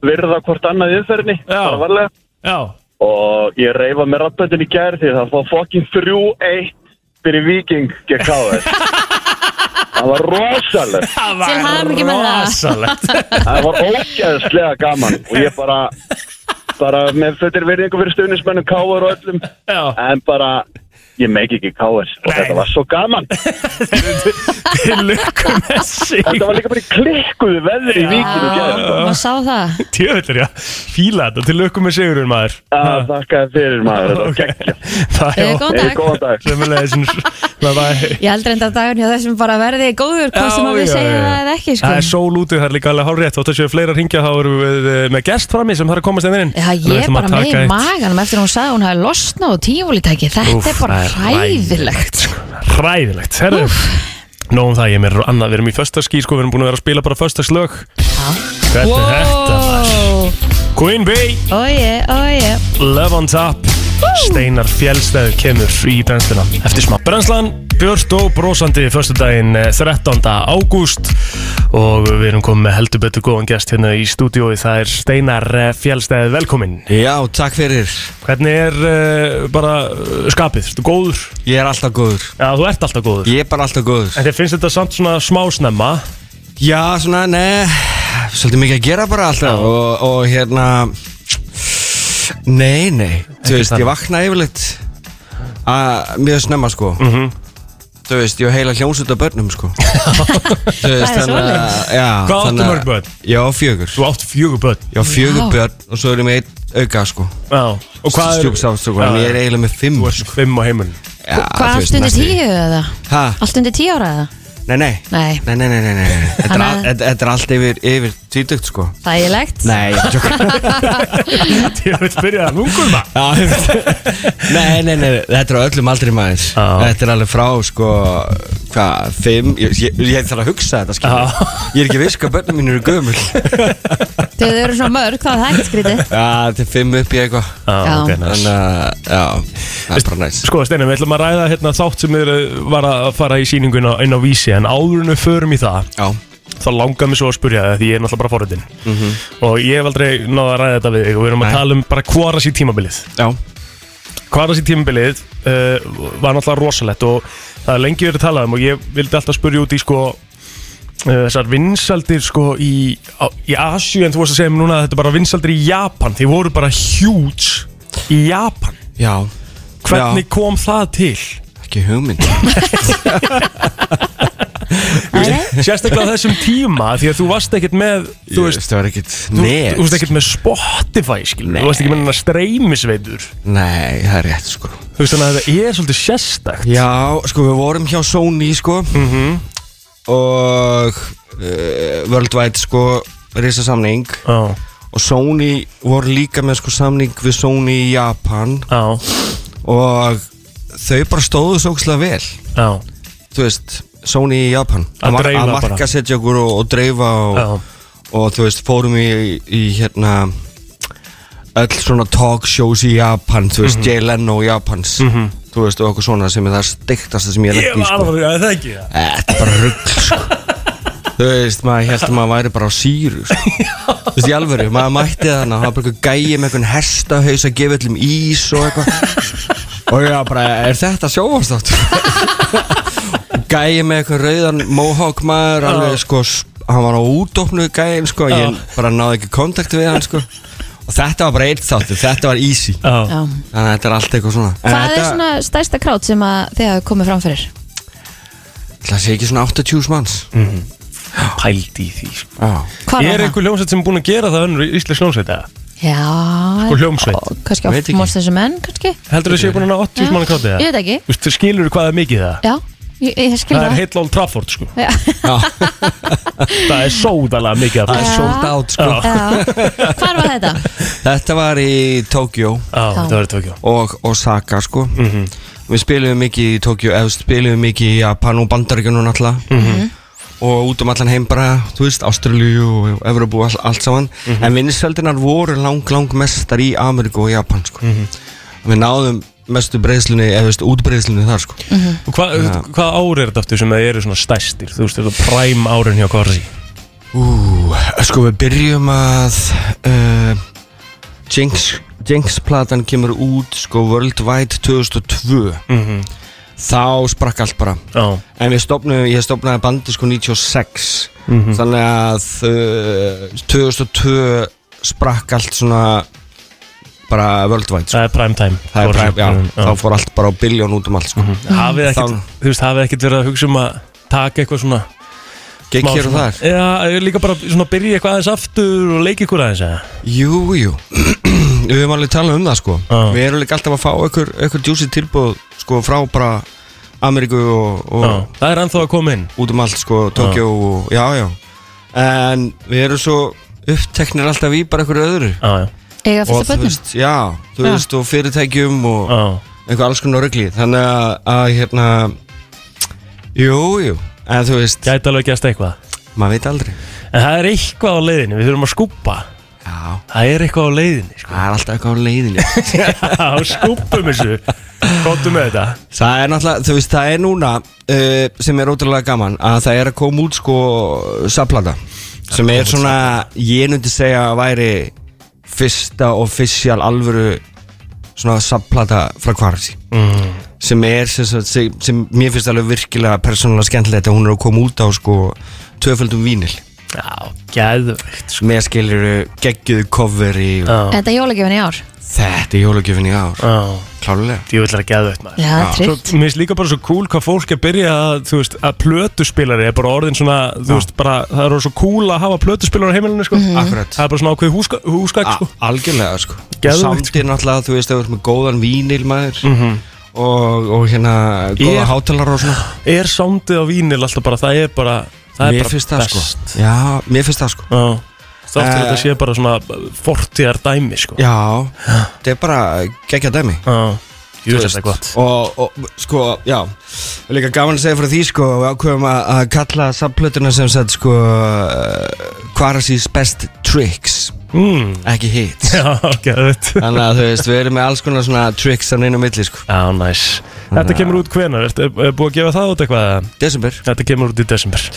virða hvort annað í umferðinni, Já. bara varlega. já Og ég reyfa með rafböndin í gæri því það fór fokkin 3-1 fyrir Viking gegn KS. það var rosalegt, Það var Til hamingju með það. rosalegt það var ógeðslega gaman og ég bara, bara með fyrir virðingu fyrir stuðnismennum KR og öllum, Já. en bara ég meik ekki KS og Nei. þetta var svo gaman. Til lukku með sig Þetta var líka bara í klikkuðu veðri í Víkinu já, gerð. maður sá það Tjöfellur, já, fíla þetta, til lukku með sigurinn maður Það þakkaði Ah, fyrir maður, þetta var geggjað. Það Hefur er góðan Hey, dag góðan dag. Sömmulegis Ég held reynda að dagurinn hjá þessum bara verði góður hvað sem að við segja það eða ekki sko. Það er sól úti, það er líka alveg hár rétt Þótt að séu fleira hringja, þá erum við eh, með gest frammi sem þarf að komast einnig inn Já, Við ég er ætlum að bara með taka í eitt- maganum eftir að hún sagði að hún hafi losnað og tífólítæki Þetta Úff, er bara það er hræðilegt sko. Ræðilegt, herðu Nóðum það, ég er með annað, við erum í föstaskí sko, við erum búin að vera að spila bara föstaslög Hvernig er þetta maður? Queen Bey, Óje, óje Love on Top Steinar Fjellstæður kemur í brennsluna eftir smá brennslan Björst og brosandi föstudaginn eh, 13. ágúst og við erum komið með heldur betur góðan gest hérna í stúdiói, það er Steinar Fjellstæður velkominn. Já, takk fyrir. Hvernig er uh, bara eh, skapið, ertu góður? Ég er alltaf góður. Já, þú ert alltaf góður Ég er bara alltaf góður. En þér finnst þetta samt svona smásnemma Já, svona, ne, svolítið mikið að gera bara alltaf og, og hérna, nei, nei, þú veist, þannig. ég vakna yfirleitt að mjög snemma, sko. Mhm. Þú veist, ég á heila hljómsut á börnum, sko. Þú veist, Það er svoleiðis. að, já. Hvað áttu þannig að- mörg börn? Ég á fjögur. Þú átt fjögur börn Ég á fjögur Vá. börn og svo erum ég einn auka, sko. Já Og hvað er Stjúpsátt, sko, en ég er eiginlega með fimm. Þú ert fimm á heimil Já, Hvað þú veist, allt undir næstu því. tíu eða? Ha? Allt undir tíu ára eða? Nei, nei. Nei, Nei, nei, nei, nei, nei. nei. Þetta, er Þannig al, að- þetta, þetta er allt yfir, yfir tvítugt sko þægilegt Nei, ég tjók Ég veit byrja það lungur maður nei, nei, nei, þetta er á öllum aldrei maður Já. Þetta er alveg frá sko Hvað, fimm Ég, ég, ég þarf að hugsa þetta skilur Ég er ekki viss hvað börnum mín eru gömul Já, Þegar þau eru svona mörg þá er það ekkert skrítið þetta er fimm upp í eitthvað Já. ok, næs. Þannig að, já, það er bara næs Sko Steinar, við ætlum að ræða hérna þátt sem er, eh, var að fara í sýningun á, inn á vísi En áður en við förum í það Já, Þá langar mér svo að spurja það Því ég er náttúrulega bara forritin Og ég hef aldrei náða að ræða þetta við þig Og við erum að Mhm. Nei. tala um bara kvaras í tímabilið já, Kvaras í tímabilið uh, var náttúrulega rosalegt Og það er lengi verið talað um Og ég vildi alltaf spurja út í sko eh, þessar vinsaldir sko í, á, í Asju en þú varst að segja mér núna að þetta er bara vinsaldir í Japan því voru bara huge í Japan Já hvernig Já. kom það til? Ekki hugmynd sérstaklega á þessum tíma því að þú varst ekkert með þú veist það var ekkit Þú, net þú veist ekkert með Spotify skil Þú veist ekki með hennar streymisveitur Nei, það er rétt sko Þú veist þannig að það er svolítið sérstakt Já, sko við vorum hjá Sony sko Mhm. Og uh, Worldwide sko Risa samning Já, Og Sony voru líka með sko samning Við Sony í Japan já, Og þau bara stóðu svo ókslega vel já, Þú veist, Sony í Japan Að mar- dreifa að bara. marka setja okkur og, og dreifa og, já, og þú veist, fórum í, í hérna öll svona talk shows í Japan þú Mhm. veist, Jay Leno í Japans þú veist, og okkur svona sem er það steiktasta sem ég hef Ég lent í, var sko. alveg, það er ekki það Þetta er bara rugg, sko Þú veist, maður held að maður væri bara á síru sko. Þú veist, í alvöru, maður mætti þannig Það var bara eitthvað gæi með eitthvað hestahaus að gefa öllum ís og eitthvað Og ég var bara, er þetta sjóvarstátt? gæi með eitthvað rauðan mohawk maður Alveg, sko, s- hann var á útdóknu gæin, sko Ég bara náði ekki kontakt við hann, sko Og þetta var bara eitt þáttu, þetta var easy Já, Já. Þannig að þetta er allt eitthvað svona En Hvað er þetta- svona stærsta krát sem að þið hafa komið fram fyrir? Það sé ekki svona 80 manns pælt í því sko. Já Hvað Er var það? einhver hljómsveit sem er búin að gera það önnur íslensk hljómsveit eða? Já, Sko, hljómsveit. og Kannski Veit ekki. oft mórst þessu menn, kannski Heldur þú að séu búin að 80 mann Já. Hm? kráti Ég það? veit ekki, Þú veist, skilur þú hvað er mikið það? já, ég, ég skil Það er það heill Old Trafford sko Já. Það er sóðalega mikið af Það er Já. sold out, sko Já. Hvar var þetta? Þetta var í Tókjó Já, þetta var í Tokjó og Osaka sko Við spilum mikið í Tókjó eða spilum mikið í Japan og Bandaríkjunum náttúrulega og út um allan heim bara, þú veist, Ástralíu og Evropu all, allt saman en vinnisveldinar voru lang, lang mestar í Ameríku og Japan sko Við náðum mestu breyðslunni eða þú veist, útbreyðslunni þar sko Hva, Hvað ár er þetta aftur sem það eru svona stæstir? Þú veist, þetta er præm árin hjá Korsi Ú, sko við byrjum að uh, Jinx Jinx platan kemur út sko Worldwide 2002 þá sprakk allt bara Já, en við stopnum, ég stopnaði bandi sko 96 þannig að uh, 2002 sprakk allt svona bara Worldwide sko. það er prime time það er Corsi. præm, já, þá fór allt bara á biljón út um allt sko. hafið ekkert, Þá- þú veist, hafið ekkert verið að hugsa um að taka eitthvað svona gekk smá hér og svona- þar Já, líka bara svona byrja eitthvað aðeins aftur og leika ykkur aðeins eða? Jú, jú Við höfum alveg talað um það sko Já. Við erum líka alltaf að fá ykkur, ykkur djúsi tilbúð sko frá bara Ameríku og, og Já, það er ennþá að koma inn út um allt sko Tokjó og já, já En við erum svo uppteknir alltaf í bara ykkur öðru Já, já, Eiga Og fullt af þú börnum? veist, já, þú Já. veist og fyrirtækjum og já einhver alls konar regli Þannig að, að hérna Jú, jú En þú veist, Gæti alveg gæst eitthvað maður veit aldrei En það er eitthvað á leiðinu, við þurfum að skúpa Já, Það er eitthvað á leiðinu, sko það er alltaf eitthvað á leiðinni Já, skúpum þessu Kóttum með þetta Það er náttúrulega, þú veist, það er núna uh, sem er ótrúlega gaman að það er að koma út sko saplata sem er svona, ég nundi segja að væri fyrsta offisjál alvöru svona saplata frá Kvarsi mm. sem er, sem, sagt- sem, sem mér finnst alveg virkilega persónulega skemmtilegt að hún er að koma út á sko tvöföldum vínil Já, gæðvegt, sko með skilur geggjuðu coveri og Já, Þetta er jólagjöfin í ár þetta er jólagjöfin í ár, já klálega Djúvill er að gæðvegt maður Já, Svo, trillt mér finnst líka bara svo cool hvað fólk er að byrja að, þú veist, að plötuspilari er bara orðin svona, þú veist, bara það er svo cool að hafa plötuspilari á heimilinu, sko Akkurat Það er bara svona ákveð húska, húskak, A- sko Algjörlega sko Geðveikt, Mhm. Samt er náttúrulega þú veist að við erum með góðan vínil maður og, og hérna góða Ég- hátalara og svona Er soundið á vínil alltaf bara, það er bara það er Mér bara finnst það best sko Já, mér finnst það sko Já. Þáttur Eh. þetta sé bara svona fortíðar dæmi, sko Já, þetta er bara geggja dæmi Jú, Þú þetta er gott og, og sko, já og Líka gaman að segja frá því sko Við ákveðum að, að kalla samplötuna sem sagt sko eh, Kvarasís best tricks mm. Ekki hits Já, gæðvegt Þannig að þú veist, við erum með alls konar svona tricks Þannig inn á milli sko Já, næs Þetta kemur út hvenar, er, er búið að gefa það út eitthvað? eða? Desember Þetta kemur út í desember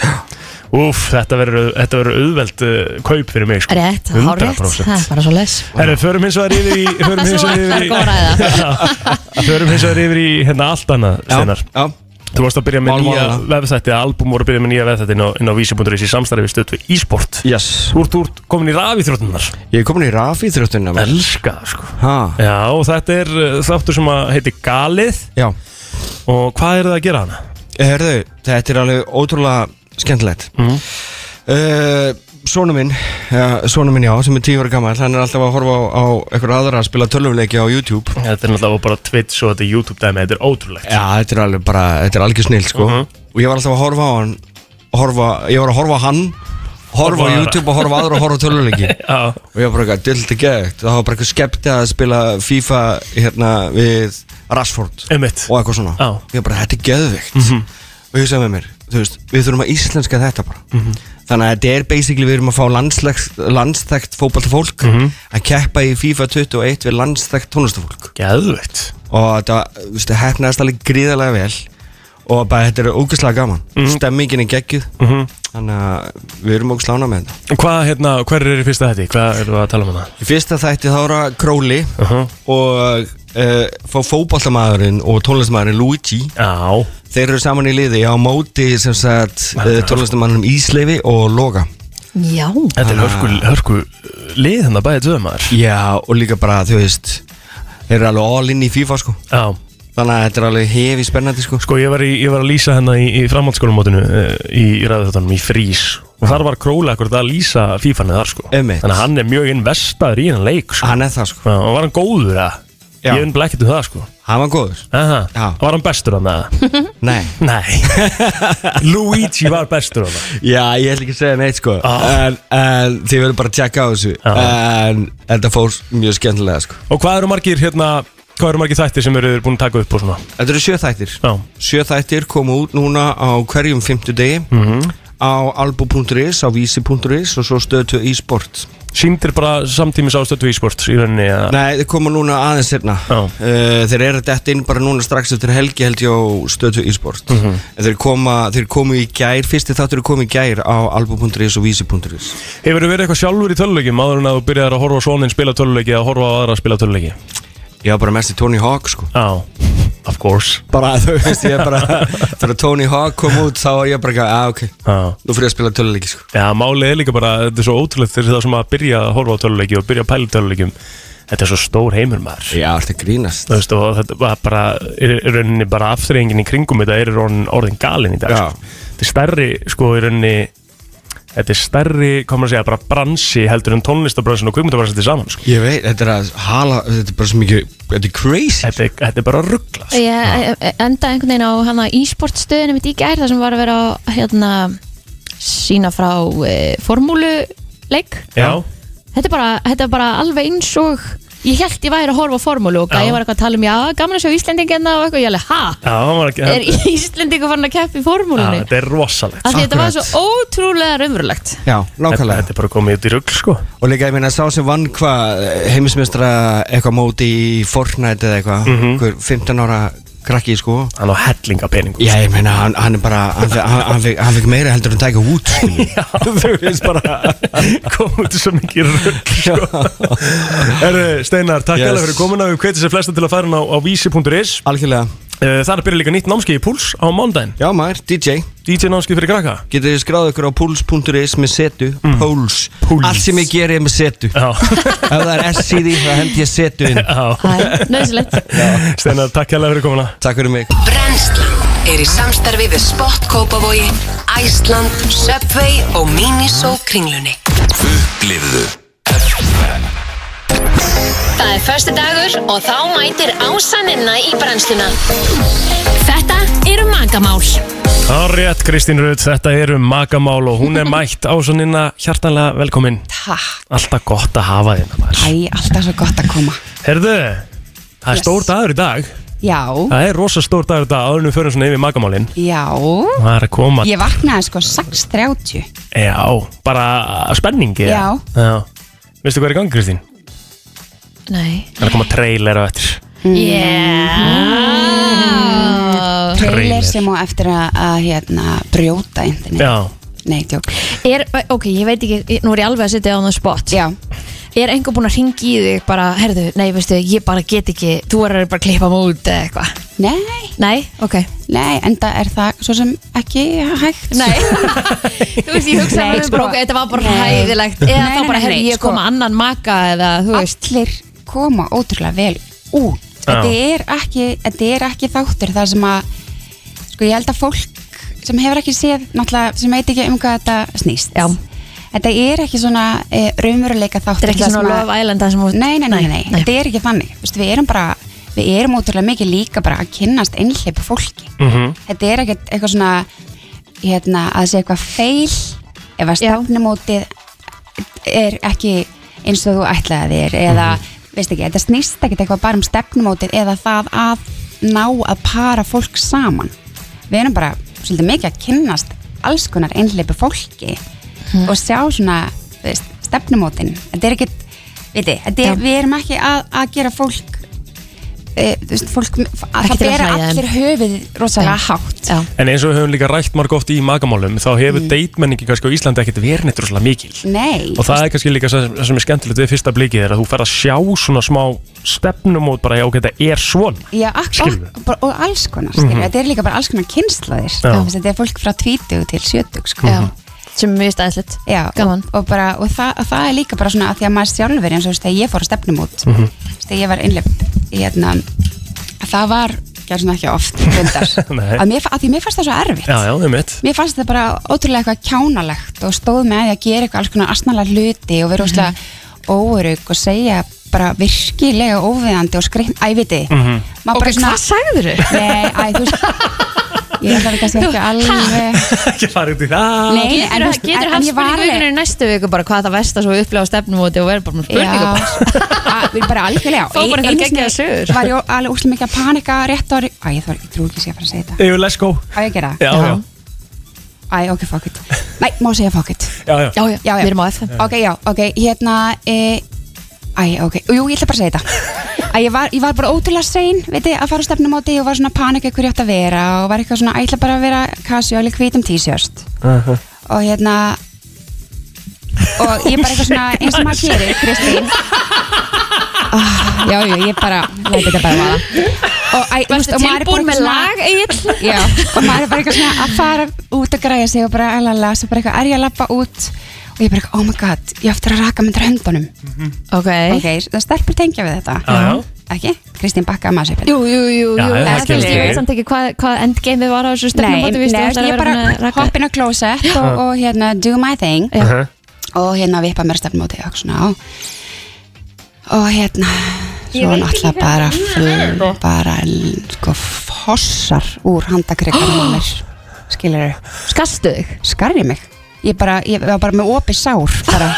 Úf, þetta verður þetta verður auðveld uh, kaup fyrir mig, sko Rétt, hárrétt, 100%. það er bara svo les Herru, förum hins vegar yfir í Það förum er hins svo vegar allar góð yfir í ræða förum hins vegar yfir í hérna allt annað Já, steinar já Þú varst að byrja með nýja Málmálaða. vefþætti album voru að byrja með nýja vefþætti inn á, inn á vísi.is í samstarfi stöðt við e-sport Yes Þú ert, þú ert komin í rafíþrótunar Ég er komin í rafi þrjóttunna Elska það, sko Ha, Já, og þetta er uh, þáttur sem að heitir Galið já og hvað er það að gera hana? Herðu, þetta er alveg ótrúlega skemmtilegt mm. Svona Eh, minn, ja, svona minn já, sem er tíu ára gammal Hann er alltaf að horfa á, á einhverja aðra að spila tölvuleiki á YouTube Þetta er náttúrulega bara Twitch og þetta er YouTube dæmi, þetta er ótrúlegt Já, þetta er alveg bara, þetta er algjör snill sko Mhm. Og ég var alltaf að horfa á hann horfa, Ég var að horfa á hann Horfa Horfa á á aðra. YouTube og horfa á aðra og horfa á tölvuleiki Já, Og ég var bara eitthvað, dildi gægt Það var bara eitthvað skepti að spila FIFA hérna við Rashford einmitt og eitthvað svona Já. Mhm. ég bara, þetta er geðvikt og ég sagði með mér, þú veist, við þurfum að íslenska þetta bara Mhm. þannig að þetta er basically við erum að fá landslegt, landstækt fótballtafólk að keppa í FIFA 21 við landstækt tónlistafólk Geðveitt og þetta, þú veist, það hefnaðist alveg gríðarlega vel og bara þetta er ógeðslega gaman stemmingin er geggjuð þannig að við erum ógeðslega ánað með þetta Hvað, hérna, hver er í fyrsta þetta? Hvað erum við að tala um hana? í fyrsta þætti þá er að Króli Mhm. og uh, fá fótballtamaðurinn og tónlistamaðurinn Luigi Já, Þeir eru saman í liði á móti sem sagt eh, tónlistamannum Ísleifi og Loga Já, þetta er hörku, hörku lið hérna bæði tvöðum maður Já og líka bara þú veist Þeir eru alveg all in í FIFA sko Já, Þannig að þetta er alveg hefi spennandi sko sko ég var, í, ég var að lýsa hérna í, í framhaldsskólumótinu eh, í, í ræðuþáttunum í Frís og þar var Króla akkur að lýsa FIFA-nið þar sko Einmitt. Þannig að hann er mjög investaður í hennan leik sko Hann er það sko Já, og var hann góður að? Já. Ég vinn blekkið um það sko Hann var góður Aha. Já. Var hann bestur hann að? Nei Nei Luigi var bestur hann Já ég ætla ekki að segja neitt sko Ah. en, en þið verður bara að tjekka á þessu Já. En þetta fór mjög skemmtilega sko Og hvað eru margir hérna Hvað eru margir þættir sem eru búin að taka upp og svona? Þetta eru sjö þættir Já Sjö þættir koma út núna á hverjum fimmtudegi mm -hmm. Á albu.is, á vísi.is og svo stöðtu í sport Sýndir bara samtímis ástöðu í sport í rauninni að Nei, þeir koma núna aðeins sérna Já. uh, Þeir eru dætt inn bara núna strax eftir helgi held ég á stötu e-sport mm þeir, koma, þeir komu í gær, fyrsti þáttur komu í gær á albu.is og vísi.is Hefur verið eitthvað sjálfur í töluleikjum áður en að þú byrjar að horfa á svonin spila töluleiki eða horfa á aðra að spila töluleiki? Ég var bara mest í Tony Hawk sko Já Of course Bara þú veist, ég er bara Þegar Tony Hawk kom út þá var ég bara eitthvað, að ok, Já nú fyrir ég að spila töluleiki sko Já, málið er líka bara, þetta er svo ótrúlegt fyrir það sem að byrja að horfa á töluleiki og byrja að pæla í töluleikjum Þetta er svo stór heimur maður Já, þetta er grínast Þú veist, og þetta var bara, er, er rauninni bara aftreyingin í kringum þetta er orðin, orðin galin í dag Já. sko. Þetta er stærri, sko, í rauninni Þetta er stærri, kom að segja, bara bransi heldur en tónlistabransin og kvikmyndabransin til saman sko. Ég veit, þetta er að hala, þetta er bara svo mikið Þetta er crazy þetta, er- þetta er bara ruggla sko. Ég eh, enda einhvern veginn á hana e-sport stöðinu mitt í gær þar sem var að vera á, hérna sína frá e, formúluleik Já, þetta er, bara, þetta er bara alveg eins og ég held ég væri að horfa á formúlu og Já. ég var eitthvað að tala um já, gaman að sjá Íslendingina og eitthvað, ég alveg, ha? já, hann var ekki Er Íslendingu farin að keppa í Já, formúlunni? Þetta er rosalegt Af því þetta var akkurat. svo ótrúlega raunverulegt Já, Þetta, nákvæmlega þetta er bara komið út í ruggl, sko Og líka ég meina sá sem vann hvað heimismestra eitthvað móti í Fortnite eða eitthvað Hver 15 ára krakki sko Hann á hellinga peningum Já ég meina hann, hann er bara, hann, fe- hann, hann, fekk, hann fekk meira heldur en sko. tæka út skilju. Já, þú veist bara komið út í svo mikið rugg sko. Herru, Steinar, takk Yes. yes. fyrir komuna Við hvetjum sér flesta til að fara inn á, á vísi.is Algjörlega Uh, Það er að byrja líka nýtt námskeið í Púls á mándaginn Já maður, DJ, DJ námskeið fyrir krakka getur þið skráð ykkur á puls.is með setu, mm. puls. Puls. Allt sem ég geri er með setu Já, Ef það er S í því þá hend ég setu inn Það er nöðsilegt Steinar, takk hérlega fyrir komuna Takk fyrir mig Brennslan er í samstarfi við Spott Kópavogi, Æsland, Subway og Miniso kringlunni. Upplifðu Það er förstu dagur og þá mætir ásaninna í brennsluna. Þetta eru magamál. Það er rétt, Kristín Rut, þetta eru magamál og hún er mætt á sannina hjartanlega velkomin Takk, Alltaf gott að hafa þinn æ, alltaf svo gott að koma Herðu, það er Yes. stór dagur í dag Já, Það er rosa stór dagur í dag áður en við förum svona yfir magamálin já Það er að koma, Ég vaknaði sko 6.30 já, bara spenningi Já. já. Veistu hvað er í gangi, Kristín? Nei Það er að koma trailer á eftir Mm. Yeah Trailer. Trailer sem á eftir að, að hérna, brjóta internet Já, Nei, tjók er, Ok, ég veit ekki, ég- nú er ég alveg að setja á það spott Já, er einhver búinn að ringi í þig bara, herðu, nei, veistu, ég bara get ekki þú verður bara að klippa mig út eða eitthvað Nei Nei, ok Nei, enda er það svo sem ekki hægt Nei Þú veist, ég hugsa Nei, bara, sko. sko, þetta var bara Nei. hæðilegt eða Nei, þá nei, bara, nei, herðu, nei, ég sko. koma annan maka eða, þú veist Allir koma ótrúlega vel út Já. þetta er, ekki, þetta er ekki þáttur þar sem að sko ég held að fólk sem hefur ekki séð náttúrulega sem veit ekki um hvað þetta snýst Já. þetta er ekki svona e, raumuruleika Þetta þáttur er ekki þar sem svona að- Love Island þar sem út- nei, nei, nei, nei, Nei, nei, þetta er ekki þannig Vist, við erum bara, við erum ótrúlega mikið líka bara að kynnast einhleipu fólki þetta er ekkert eitthvað svona hérna, að það sé eitthvað feil ef að stefnumótið er ekki eins og þú ætlaði þér eða, Mhm. veist ekki, þetta snýst ekkert eitthvað bara um stefnumótið eða það að ná að para fólk saman við erum bara svolítið mikið að kynnast alls konar einhleipu fólki Mhm. og sjá svona þú veist, stefnumótin, þetta er ekkert viti, þetta Já. er, við erum ekki að, að gera fólk e, þú veist, fólk að Ekki það til að bera hlæja þeim. allir höfuð rosalega hátt Já. En eins og við höfum líka rætt marg oft í magamálum þá hefur mm. deitmenningi kannski á Íslandi ekkert verið neitt rosalega mikil Nei, og það er kannski líka það sem, það sem er skemmtilegt við fyrsta blikið er að þú fer að sjá svona smá stefnum út bara, já, ok, þetta er svona Já, ak- Skilurðu? og, bara- og alls konar skilur. Mhm. Þetta er líka bara alls konar kynslaðir Já. Mhm. Þetta er fólk frá 20 til 70 sko. Já, sem er mjög stæðslegt Já, og, og, bara, og það, og það er líka bara svona að því að maður sjálfur eins og þú veist þegar ég fór að stefnum út Mhm. mm -hmm. þegar ég var innleipt hérna, það var, gerð svona ekki oft reyndar, Nei. að, mér, fa- að því mér fannst það svo erfitt Já, já, um mitt Mér fannst þetta bara ótrúlega eitthvað kjánalegt og stóð með því að gera eitthvað alls konar asnalega hluti og vera Mhm. óslega óörug og segja bara virkilega óviðandi og skreitt, æ, viti Mhm. Maður Ok, bara hvað sagðirðu? Nei, æ, þú veist Ég ætla það kannski ekki alveg Ekki fara út í það Nei, en þú Getur, veist, en- getur en haft ég var spurningu alveg- vikunni næstu viku bara hvað það vest að svo upplega á stefnumóti og verður bara með spurningu Já. bara. Að- Við bara algjörlega Fá bara Einu einhver sinni geggjaða sögur. Var ég alveg úslega mikið að panika rétt ári Æ, ég þor- ég trúi ekki að ég sé að fara að segja þetta Jú, let's go Á ég að gera það? Já, já, Æ, ok, fuck it Nei, má segja fuck it já, já, Já, já, við erum á FM. Ok, já, ok, hérna e, Æ, ok, jú, ég ætla bara að segja þetta Æ, ég var, ég var bara ótrúlega sein Viti, að fara á stefnumóti og var svona panik Hverju átt að vera og var eitthvað svona Æ, ég ætla bara að vera kasjóli hvítum t-shirt Og hérna Og ég bara eitthvað svona Eins og maður gerir, Kristín Ah, Já, já, ég bara Læti þetta bara vaða Og, æ, þú veist, Varstu og maður er bara tilbúin með eitthvað svona- lag, Egill? Já, og maður er bara eitthvað svona að fara út og græja sig og bara alala, svo bara eitthvað er ég að lappa út og ég bara eitthvað, oh my god, ég á eftir að raka myndir höndunum Ok, Ok, það stelpur tengja við þetta Já, já. Ekki? Kristín bakkaði maður sér Jú, jú, jú, Já, jú. já, það Það kemur skilst ég til. veit samt ekki hvað hva endgameið var á þessu Nei, stefnumóti nei, Eh, ég bara hoppin á klósett og, Já. og hérna do my thing Já. og hérna vippa mér stefnumóti og svona og, og hérna svo náttúrulega bara fl- bara sko fossar úr handakrygganum á mér skilur Skastu þig? Skarri mig Ég, bara, ég var bara með opið sár bara.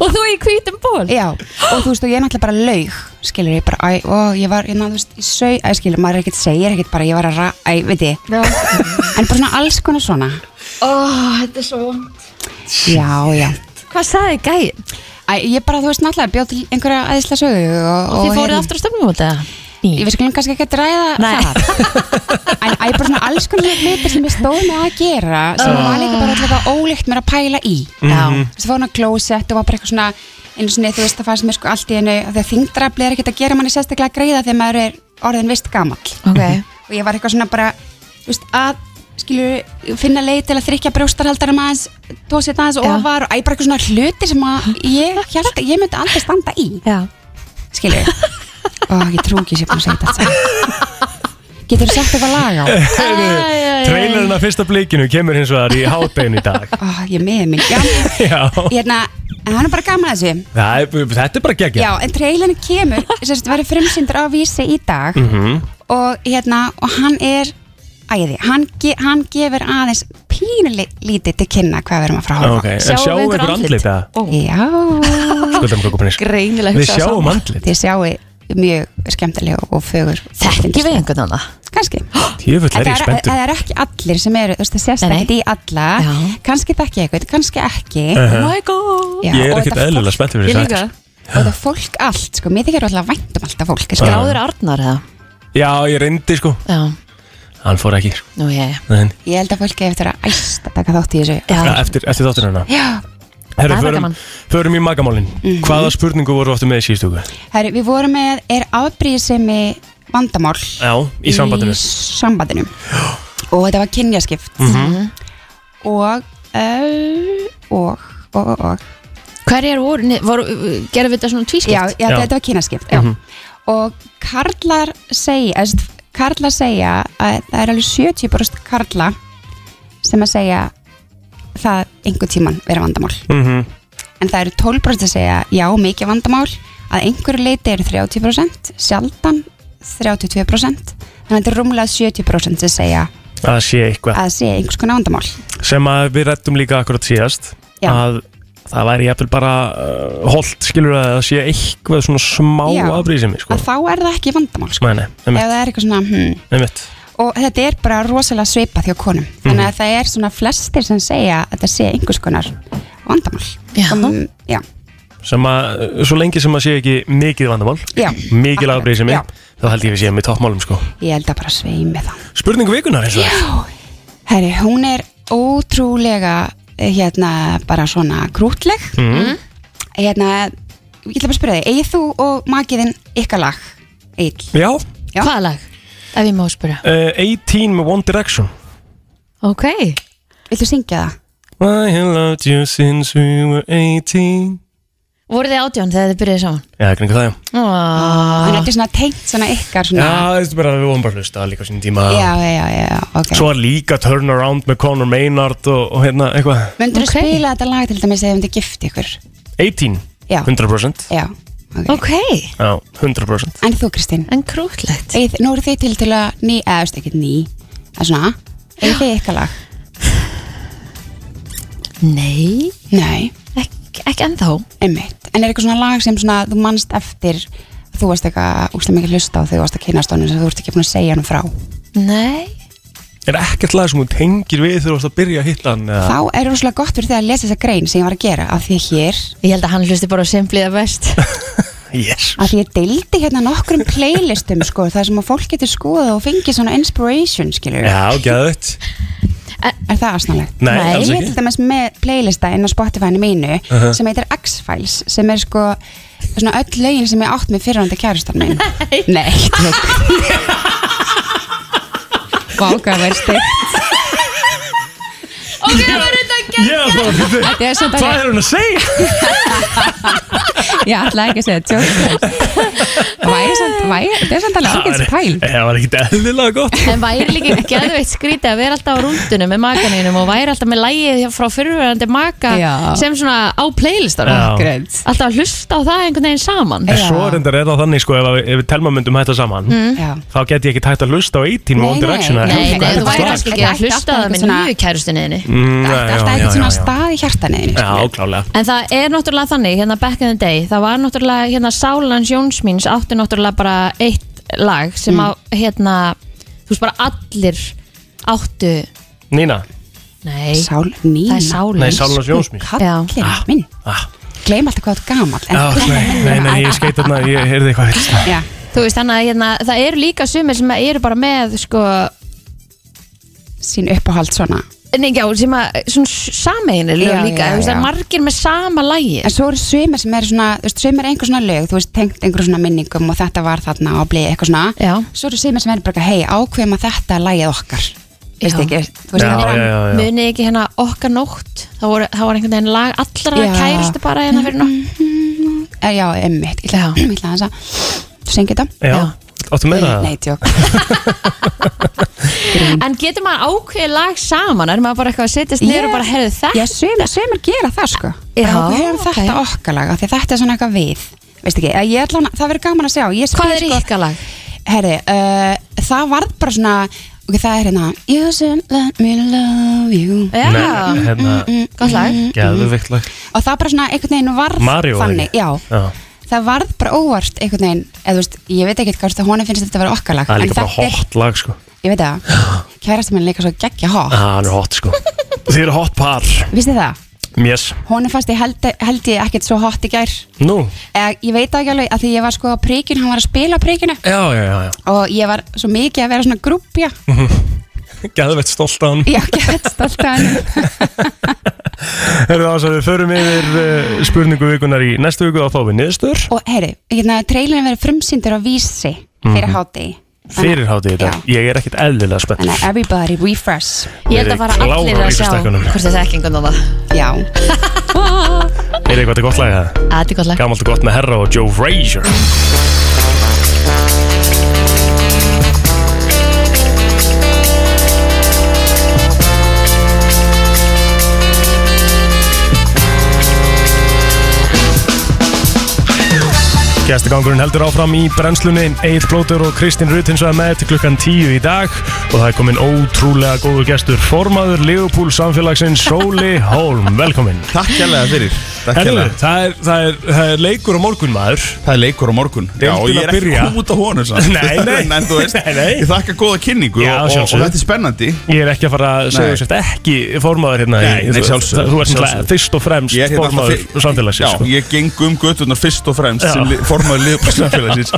Og þú í hvítum ból? Já, og þú veist og ég er náttúrulega bara laug Skilur ég bara, æ, ó, ég var, ég náttúrulega, þú veist, ég sög Æ, skilur, maður er ekkert, segir ekkert bara, ég var að ra, æ, veit ég Já. En bara svona alls konar svona Ó, þetta er svo vond Já, já Hvað sagði gæi? Æ, ég bara, þú veist, náttúrulega bjóð til einhverja æðislega sögu Og, Og þið fóruð aftur á stefnumóti? eða? Ég veist, skulum kannski ekki að ræða það En æ, bara svona alls konar hlutir sem ég stóð með að gera Sem Ah. var líka bara alltaf ólíkt mér að pæla í Já. Svo fór hún á klósett og var bara eitthvað svona einu sinni þú veist að fara sem er sko allt í einu þegar þingdrafli er ekkert að gera manni sérstaklega greiða þegar maður er orðin vist gamall Ok. og ég var eitthvað svona bara þú veist, að skilur finna leið til að þrykja brjóstarhaldarum aðeins tósi þetta aðeins ofar og æ, bara eitthvað svona hluti sem að ég held að ég myndi aldrei standa í Já. skilur og ég trú ekki sér búin að segja þetta allt saman. getur þú sett eitthvað lag á Trailerinn af fyrsta blikinu kemur hins vegar í hátbein í dag Ó, ég meði mig já, Já, hérna, en hann er bara gaman að þessu Það er- þetta er bara geggja já, en trailerinn kemur sérst, verið frumsyndur á vísi í dag Mhm. og hérna, og hann er æði, hann, ge, hann gefur aðeins pínulítið til kynna hvað við erum að fara að horfa á. Ok, en sjáum við einhver andlit eða? Já Skuldum okkur kopinis Greinilega Við sjáum andlit Þið sjáu mjög skemmtileg og fögur Þekki við einhvern annað? Kanski Tjöfull er eh, Það ég er, spenntur það er ekki allir sem eru, þú veist, það sést Nei, nei. ekki í alla Kanski þekki ég eitthvað, kannski ekki Uh-huh. Oh my god Ég er ekkert eðlilega spenntur fyrir þess að Og þetta fólk allt, sko, mér þykir alltaf vænt um alltaf fólk Já. Skráðirðu Arnar eða? Já, ég reyndi sko Já, Hann fór ekki sko. nú ég Nei, Eh. Ég held að fólk eigi eftir að æst að taka þátt í þessu ja, eftir, eftir þáttur hennar Já, Herru, Það er förum, gaman. förum í magamálin Mhm. Hvaða spurningu voru aftur með í síðustu viku? Herru, við vorum með, er afbríðisemi vandamál Já, í sambandinu í sambandinu og þetta var kynjaskipt Mhm. og, uh, og og, og, og Hverjar voru, ne- voru gerðum við þetta svona tvískipt? Já, já, Já. þetta var kynjaskipt já. Mhm. og karlar segja eða, sem sagt, karlar segja að það er alveg 70% karla sem að segja það einhvern tíman vera vandamál Mhm. en það eru 12% að segja já, mikið vandamál að einhverju leiti eru 30% sjaldan 32% þannig að þetta er rúmlega 70% sem segja Að sé eitthvað að sé einhvers konar vandamál sem að við rettum líka akkurat síðast Já. að það væri jafnvel bara uh, holt skilur að það sé eitthvað svona smá Já. afbrísimi sko. að þá er það ekki vandamál sko. Nei, nei, ef einmitt, það er eitthvað svona hmm. einmitt og þetta er bara rosalega svipað hjá konum þannig Mhm. að það er svona flestir sem segja að þetta sé einhvers konar vandamál já, um, já. sem að, uh, svo lengi sem að sé ekki mikið vandamál, Já. mikil Akkurat, afbrísimi já. þá held ég við séum í toppmálum sko. ég held að bara sveimi það Spurningu vikunar eins og það Herri, hún er ótrúlega eh, hérna bara svona krútleg Mhm. hérna, ég ætla bara að spyrja þig eigið þú og makiðinn ykkar lag? Egil Já, Já. Hvaða lag? Ef ég má spyrja uh, 18 með One Direction Ok Viltu syngja það? I have loved you since we were 18 Voru þið átján þegar þið byrjuði saman? Já, ekki það já Oh. Þannig að þetta er svona tengt svona ykkar Já, svona þú veist bara að við vorum bara að hlusta líka á sínum tíma já, já, já, já ok Svo var líka Turnaround með Conor Maynard og, og hérna eitthvað Möndur þú spila þetta lag til dæmis eða þið myndi gift ykkur? 18, Já. 100% Já, ok, Já, 100% En þú Kristín? En krútlegt Egið, Nú eru þið til til að ný, eða veist ekki ný eða svona, eigið þið ykkar lag? Nei Nei Ek, Ekki ennþá Einmitt. En er eitthvað svona lag sem svona, þú manst eftir að þú varst eitthvað úrslega mikið hlusta á þegar þú varst að kynast honum sem þú ert ekki búin að segja hann frá Nei Er ekkert lag sem þú tengir við þegar þú ert að byrja að hitta hann eða? Þá er rosalega gott fyrir þig að lesa þessa grein sem ég var að gera af því að hér Ég held að hann hlusti bara simpliða best Yes af því ég deildi hérna nokkrum playlistum sko, þar sem að fólk getur skoðað og fengið svona inspiration skilur Já, gæðut Er það aðsnálegt? Nei, alls Ég er ekki. til dæmis með playlista inn á Spotify-inu mínu Uh-huh. sem heitir X-Files sem er sko svona öll lögin sem ég átt með fyrirhandi kærastan mín Nei, tjók Váka, verð steikt Ok, það var þetta Þetta er samt alveg- Hvað er hún að segja? Ég ætla ekki að segja tjók Væri samt, væri, þetta er samt alveg ágætis pæl Það var ekkert eðlilega gott En væri líka geðveitt skrítið að vera alltaf á rúndunum með makaninum og væri alltaf með lægið frá fyrirverandi maka Já. sem svona á playlistanum Já. Akkurat. Alltaf að hlusta á það einhvern veginn saman En svo reyndar er það þannig sko ef, að- ef við telma myndum hætta saman Mm. Já. þá get ég ekki hægt að hlusta á 18 með One Direction eða Nei, eitthvað nei, þú eitthvað væri slag. kannski ekki að hlusta á það með nýju kærustinniðinni Mm, já, sko. já, Alltaf já, ekkert já, svona já. stað í hjartaneðinu Já, klálega En það er náttúrulega þannig, hérna back in the day það var náttúrulega, hérna Sálans Jónsmíns átti náttúrulega bara eitt lag sem Mm. á, hérna þú veist bara allir áttu Nína Nei, Sál, það Nína er Sálans Nei, Sálans Jónsmín. Kallinn minn ah. Gleim alltaf hvað þú ert gamall en Já, þú- nei, nei, nei, ég skeit þarna, ég heyrði eitthvað sko. heyrðist. Já, Þú veist, þannig að hérna, það eru líka sumir sem eru bara með, sko, sín uppáhald svona nei, já, sem að, svona sameinir Já, líka, já, þú veist, það já. er margir með sama lægi. En svo eru sumir sem eru svona, þú veist, sumir einhver svona lög, þú veist, tengt einhver svona minningum og þetta var þarna og bleið eitthvað svona. Já. Svo eru sumir sem eru bara, hei, ákveðum að þetta er lægið okkar. Veist ekki, þú Já, veist, það já, er- já, já. Munið ekki hérna okkar nótt, þá voru, þá var einhvern veginn lag allra Já. kærustu bara hérna fyrir nótt. Eh, Já, emmitt, ég ætla ég ætla aðeins að syngja þetta. Já, áttu meira það? Nei, tjók. Mm-hmm. En getur maður ákveðið lag saman, er maður bara eitthvað að setjast niður og bara heyrðu þetta? Já, sumir, sumir gera það, sko. Já, Bara, "Við höfum ok. þetta okkar lag, af því þetta er svona eitthvað við. Veist ekki, eh, ég ætla að, það verður gaman að sjá. Ég spyr, Hvað er sko, ykkar lag? Herri, uh, það varð bara svona ok, það er hérna You should let me love you Uh, Mm, Já, Nei, hérna, gott lag. geðvikt lag og það bara svona einhvern veginn varð Mario þannig, ekki? já, það varð bara óvart einhvern veginn, eða þú veist, ég veit ekki hvort að honum finnst þetta að vera okkar lag Það er en líka bara þetta er- hot lag sko ég veit það, kærastum minn er líka svo geggja hot, Það er hot sko Þið eru hot par visst þið það? Yes honum fannst ég held, held ég ekkert svo hot í gær Nú eða, ég veit það ekki alveg, að því ég var sko á príkinu hann var að spila á príkinu Já, já, já, já og ég var svo mikið að vera svona grúpja Geðveitt stolt á hann Já, gett stolt að hann Herðu ás að við förum yfir uh, spurningu vikunar í næstu viku og þá við niðurstöður Og heyri, hérna, trailerin verið frumsýndur á vísi fyrir Mhm. hátí fyrir hátíð þetta. Ég er ekkert eðlilega spennt. Everybody refresh Ég held að fara Verið allir að klárar í sjá stekkunum. hvort þessi ekklingun á það Já Er eitthvað gott lag það? Þetta er gott lag Gamalt og gott með Herra og Joe Frazier. Gæstegangurinn heldur áfram í brennslunni Egil Blótur og Kristín Rutinsvæð með til klukkan 10 í dag og það er komin ótrúlega góður gestur formaður Leopold samfélagsins Sóli Hólm, velkomin Takk hérlega fyrir Takk Herðu, hérlega. það er, það, er, það er leikur á morgun maður Það er leikur á morgun Já, og ég er ekki kom út á honum samt. Nei, nei, En- en þú veist, nei, nei. Ég þakka góða kynningu Já, og, og, og sjálfsögðu. þetta er spennandi Ég er ekki að fara að segja Nei. þess ekki formaður hérna Nei, í- nei, þú- sjálfsögðu, Þú ert sjálfsögðu. náttúrulega fyrst og fremst Ég er hérna formaður alltaf fyr- samfélagsins Já, sko. ég geng um göttunar fyrst og fremst Já. sem li, formaður liðbúr samfélagsins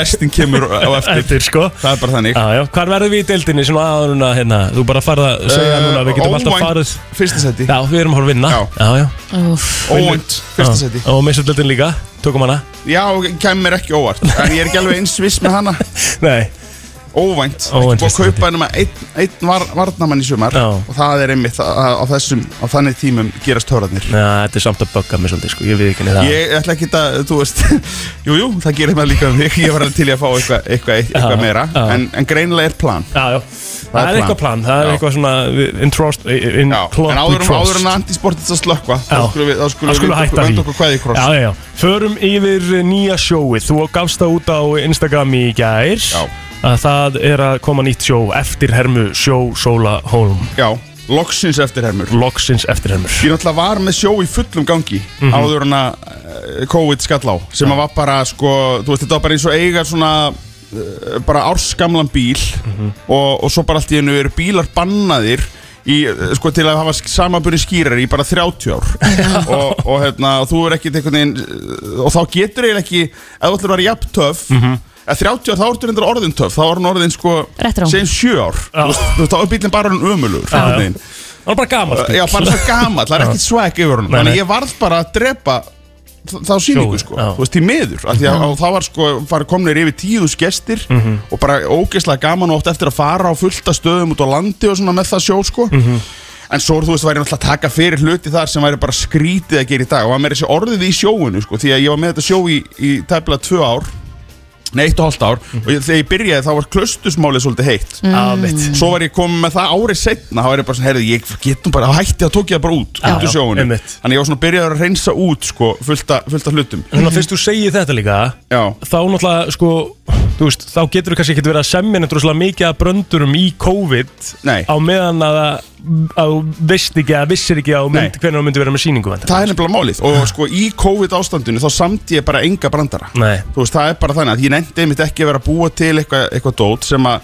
Restin kemur á eftir, Eftir, sko. Það er bara þannig Já, já, hvar verðum við í deildinni svona aðurna hérna? Þú bara farð að segja Eh, núna, við getum alltaf óvænt farið Fyrsta seti Já, við erum að horfa að vinna Já, já, Úff. Óvænt fyrsta Já, seti Og meðsöldöldin líka, tökum hana Já, kemur mér ekki óvart En ég er ekki alveg eins viss með hana Nei Óvænt Óvænt Búið að fyrsta kaupa nema einn ein var, varnamann í sumar Já. Og það er einmitt að, að, á þessum Á þannig tímum gerast töratnir Já, þetta er samt að bögga mig svolítið, sko, ég við ekki það Ég ætla ekki að, þú veist Jú, jú, það gerir maður líka um þig Ég var alveg til í að fá eitthvað eitthva, eitthva Já, meira já. Mm, en, en greinilega er plan Já, já Það er eitthvað plan, það er eitthvað svona við- in trust, in já, plot En we áður, trust. áður en antisportið að slökva Þá Já. skulum við, þá Þá skulum við skulum við hætta venda því. okkur kvæði kross Já, já, já. Förum yfir eh, nýja sjóið. Þú gafst það út á Instagram í gær. Já. Að það er að koma nýtt sjó eftir hermu sjó Sóla Hólm. Já, loksins eftir hermur. Loksins eftir hermur. Ég náttúrulega var með sjó í fullum gangi Mhm. Áður en að eh, COVID skall á Sem að var bara, sko, þú veist, þetta var bara eins og eiga svona eh, bara árskamlan bíl Mhm. og, og svo bara allt í hennu eru bílar bannaðir í, eh, sko, til að hafa samanbyrði skýrar í bara 30 ár og, og hérna, og þú er ekkert einhvern veginn eh, og þá getur eiginlega ekki ef þú ætlar að vera jafn töff Mhm. að 30 ár, þá ertu reyndar orðin töff þá er hann orðin, sko, Retro. segjum 7 ár Þú veist, þú veist, þá er bílinn bara hann ömulur Já, já. Það var bara sko. Mm. gamall bíll. Uh, Já, bara svo gamall, það er Já. ekkert swag yfir honum Nei, Þannig nei. að ég varð bara að drepa þ- þá síningu Sjóið, sko, já. þú veist, í miður af því að Já. og það var sko, var komnir yfir tíðus gestir Mhm. og bara ógeðslega gaman og átt eftir að fara á fullta stöðum út á landi og svona með það sjó sko Mhm. en svo, þú veist, væri náttúrulega að taka fyrir hluti þar sem væri bara skrítið að gera í dag og var meira þessi orðið í sjóinu sko, því að ég var með þetta sjó í, í tæplega tvö ár Nei, eitt og hálft ár Mhm. Og ég, þegar ég byrjaði þá var klustusmálið svolítið heitt Mm. Ah, mitt. Svo var ég komið með það árið setna Þá var ég bara svona, herði, ég getum bara þá hætti að tók ég það bara út Já, Út úr já, sjóinu einmitt. Þannig ég var svona byrjaði að reynsa út sko, fullt, a, fullt af hlutum Þannig að fyrst þú segir þetta líka, Já. þá náttúrulega, sko, þú veist, þá getur þú kannski ekkert verið að semja neitt rosalega mikið að bröndurum í COVID Nei. á meðan að, að þú veist ekki að vissir ekki að þú mynd, hvernig þú myndi vera með síningu. væntanlega. Það er nefnilega málið Og sko, í COVID ástandinu þá samdi ég bara enga brandara Nei. Þú veist, það er bara þannig að ég nefndi einmitt ekki að vera að búa til eitthvað eitthva dót sem að,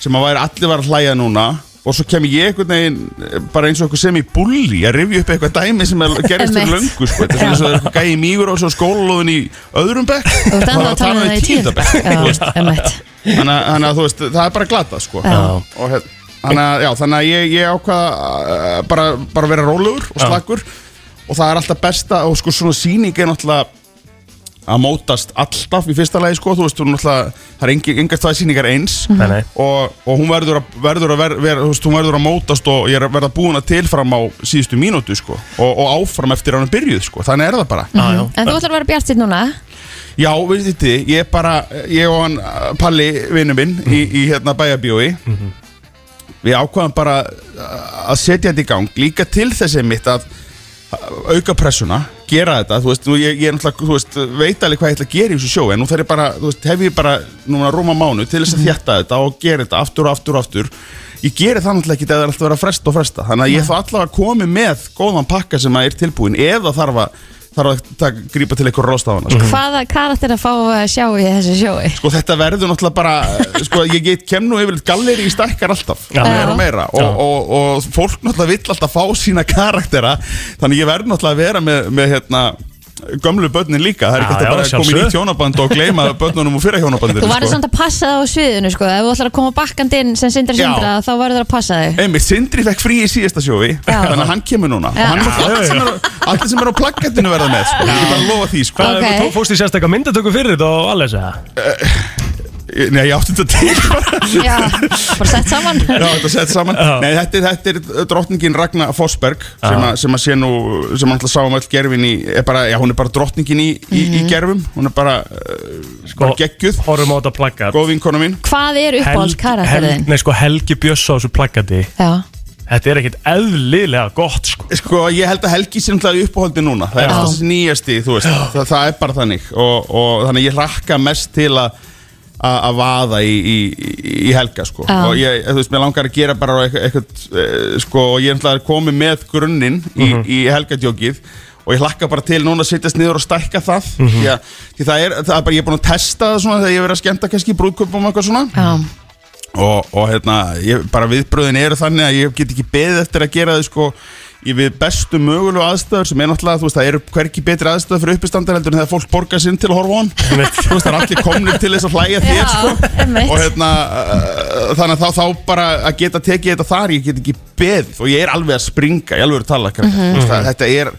sem að væri allir var að hlæja núna og svo kem ég einhvern veginn eh, bara eins og eitthvað sem í bulli að rifja upp eitthvað dæmi sem er- gerist fyrir Einmitt. löngu sko. þetta er svona eins og það er eitthvað gæi mýgur og svo skólalóðin í öðrum bekk Þú ert og ennþá að tala um það í tíunda bekk. Já, þú veist. einmitt. þannig að- þannig að þú veist það er bara glata sko. Já. og hér- þannig að, já, þannig að ég, ég ákvaða uh, bara, bara vera rólegur og Já. slakur og það er alltaf besta og sko svona sýning er náttúrulega að mótast alltaf í fyrsta lagi sko, þú veist, hún náttúrulega, það er engin, engast það síningar eins Mhm. Nei, nei. og, og hún verður að, verður að ver, ver, þú veist, hún verður að mótast og ég er að verða búin að tilfram á síðustu mínútu sko og, og áfram eftir að hann er byrjuð sko, þannig er það bara já. En þú ætlar að vera bjart sitt núna Já, veist þetta, ég er bara, ég og hann uh, Palli, vinnu minn, í, í hérna bæjarbíói Við ákvaðum bara uh, að setja þetta í gang Líka til þessi mitt að uh, auka pressuna, gera þetta Þú veist, nú ég, ég er náttúrulega, þú veist, veit alveg hvað ég ætla að gera í þessu sjó En nú þarf ég bara, þú veist, hef ég bara núna rúma mánu til þess að þétta þetta Og gera þetta aftur og aftur og aftur Ég geri það náttúrulega ekki þegar það er alltaf að vera að fresta og fresta Þannig að ég þá allavega komið með góðan pakka sem að er tilbúin Eða þarf að, þarf að taka, grípa til eitthvað ráðstafana sko. Hvaða karakter að fá að sjá í þessu sjói? Sko þetta verður náttúrulega bara Sko ég get kem nú yfirleitt galleri í stækkar alltaf Já. Meira og meira og, Já. og, og, fólk náttúrulega vill alltaf fá sína karaktera Þannig ég verður náttúrulega að vera með, með hérna gömlu börnin líka það er ekki Já, hægt að já, bara koma í sjálfsögðu. nýtt hjónaband og gleyma börnunum og fyrra hjónabandinu sko. Þú varði samt að passa það á sviðinu sko Ef þú ætlar að koma bakkandi inn sem sindra Já. sindra Þá varður það að passa þig Einmitt, Sindri fekk frí í síðasta sjófi Þannig að hann kemur núna Og Já. hann er allir sem er, allir sem er á plaggatinu verða með sko. Ég get bara að lofa því sko. Hvað, okay. fórst í sérstakka myndatöku fyrir þetta og alveg þess Nei, ég átti þetta til Já, bara sett saman Já, þetta sett saman Nei, þetta, er- þetta er drottningin Ragnar Fossberg sem, að, sem að sé nú, sem alltaf sáum öll gerfin í, er bara, já, hún er bara drottningin í, í, í gerfum, hún er bara Mhm. sko, bara geggjuð Horfum á þetta plaggat Góð vinkona mín Hvað er uppáhalds karakterðin? Nei, sko, Helgi Bjöss á þessu plaggati Já, Þetta er ekkit eðlilega gott, sko Sko, ég held að Helgi sem það er uppáhaldi núna Það er Já. alltaf nýjasti, þú veist það, það er bara þannig og, og þannig að ég rakka mest til að að að vaða í, í, í- í helga sko. Já. og ég, þú veist, mér langar að gera bara eitthvað, eitthvað eh, sko, og ég er náttúrulega komið með grunninn í, í helgadjókið og ég hlakka bara til núna að sittast niður og stækka það mm Mhm. því það er, það er bara, ég er búin að testa það svona þegar ég hef verið að skemmta kannski í brúðkaupum og eitthvað svona Já. og, og hérna, ég, bara viðbröðin eru þannig að ég get ekki beðið eftir að gera þau sko í við bestu mögulegu aðstæður sem er náttúrulega, þú veist, það eru hverki betri aðstæður fyrir uppistandar heldur en þegar fólk borgar sinn til að horfa á hann þú veist, það er allir komnir til þess að hlæja þér sko. og hérna uh, þannig að þá, þá bara að geta tekið þetta þar, ég get ekki beðið og ég er alveg að springa, ég alveg er að tala krakkar. Mhm. Þú veist, það- þetta er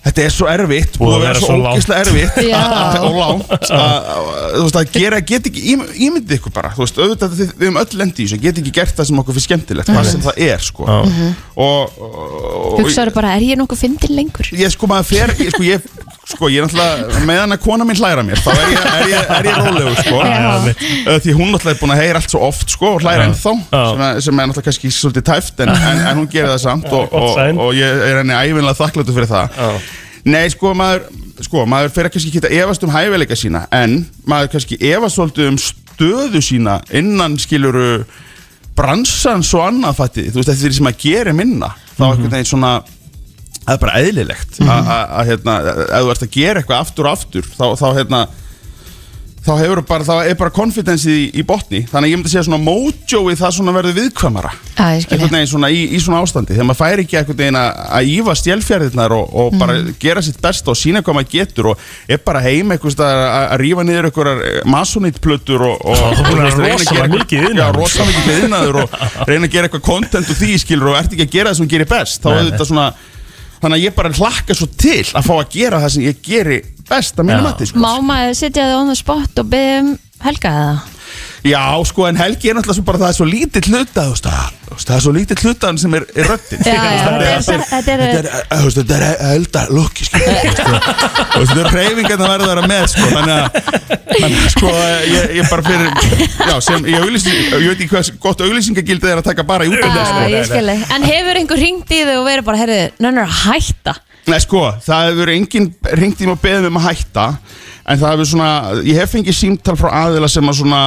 Þetta er svo erfitt, búið að vera svo langt. ógislega erfitt Já. að- að- og langt að- að- þú veist, að gera, get ekki, ím- ímyndið ykkur bara þú veist, auðvitað þið, við höfum öll lendi í þessu get ekki gert það sem okkur fyrir skemmtilegt, hvað Mhm. sem það er sko. Mhm. og, og, og hugsaður bara, er ég nokkuð fyndin lengur? ég sko maður fer, ég sko ég sko ég er náttúrulega, meðan að kona mín hlæra mér þá er ég, er ég, er ég rólegur sko Já. Eh, því hún náttúrulega er búin að heyra allt svo oft sko og hlæra ennþá sem, er- sem er náttúrulega kannski svolítið tæft en, en, en hún gerir það samt og, Gott og, sign. og ég er henni ævinlega þakkláttu fyrir það nei sko maður sko maður fer að kannski geta efast um hæfileika sína en maður kannski efast svolítið um stöðu sína innan skiluru bransans og annað fættið þú veist þetta er því sem að gera minna Mhm. þá einhvern veginn svona það er bara eðlilegt mm að hérna, ef þú ert að gera eitthvað aftur og aftur þá, þá hérna þá hefur bara, þá er bara konfidensið í, í botni þannig að ég myndi að segja svona mojoið það svona verður viðkvæmara Já, ég skil einhvern veginn svona í, í svona ástandi þegar maður fær ekki einhvern veginn að, að ífa stjálfjærðirnar og, og bara Mhm. gera sitt besta og sína hvað maður getur og er bara heim einhvers staðar að, að rífa niður einhverjar masonitplötur og, og, Já, og, þú er veist, reyna að rosalega gera eitthvað- mikið iðnaður. já, rosalega mikið innaður og reyna að gera eitthvað content og því skilur og ert ekki að gera það sem þú gerir best þá Nei, er nei. þetta svona þannig að ég bara hlakka svo til að fá að gera það sem ég geri best Já. að mínum að sko. Má maður setja þig on the spot og beðið um helga eða? já sko en Helgi er náttúrulega svo bara það er svo lítill hluta þú veist, að- þú veist, það er svo lítill hluta sem er, er röddin Já, já, Þannig að- þetta er- þetta er- þetta er- þú veist, þetta er eldar lukki sko. og þetta er reyfingarna verður að vera með sko, þannig að þannig, að, sko, ég, ég bara fyrir já, sem, ég, auglýsi, ég veit ekki hvað gott auglýsingagildið er að taka bara í sko. útlanda Já, ég skil þig. En hefur einhver ringt í þig og verið bara, heyrðu, nönnar að hætta? Nei sko, það hefur enginn ringt í mig og beðið mig um að hætta En það hefur svona, ég hef fengið símtal frá aðila sem að svona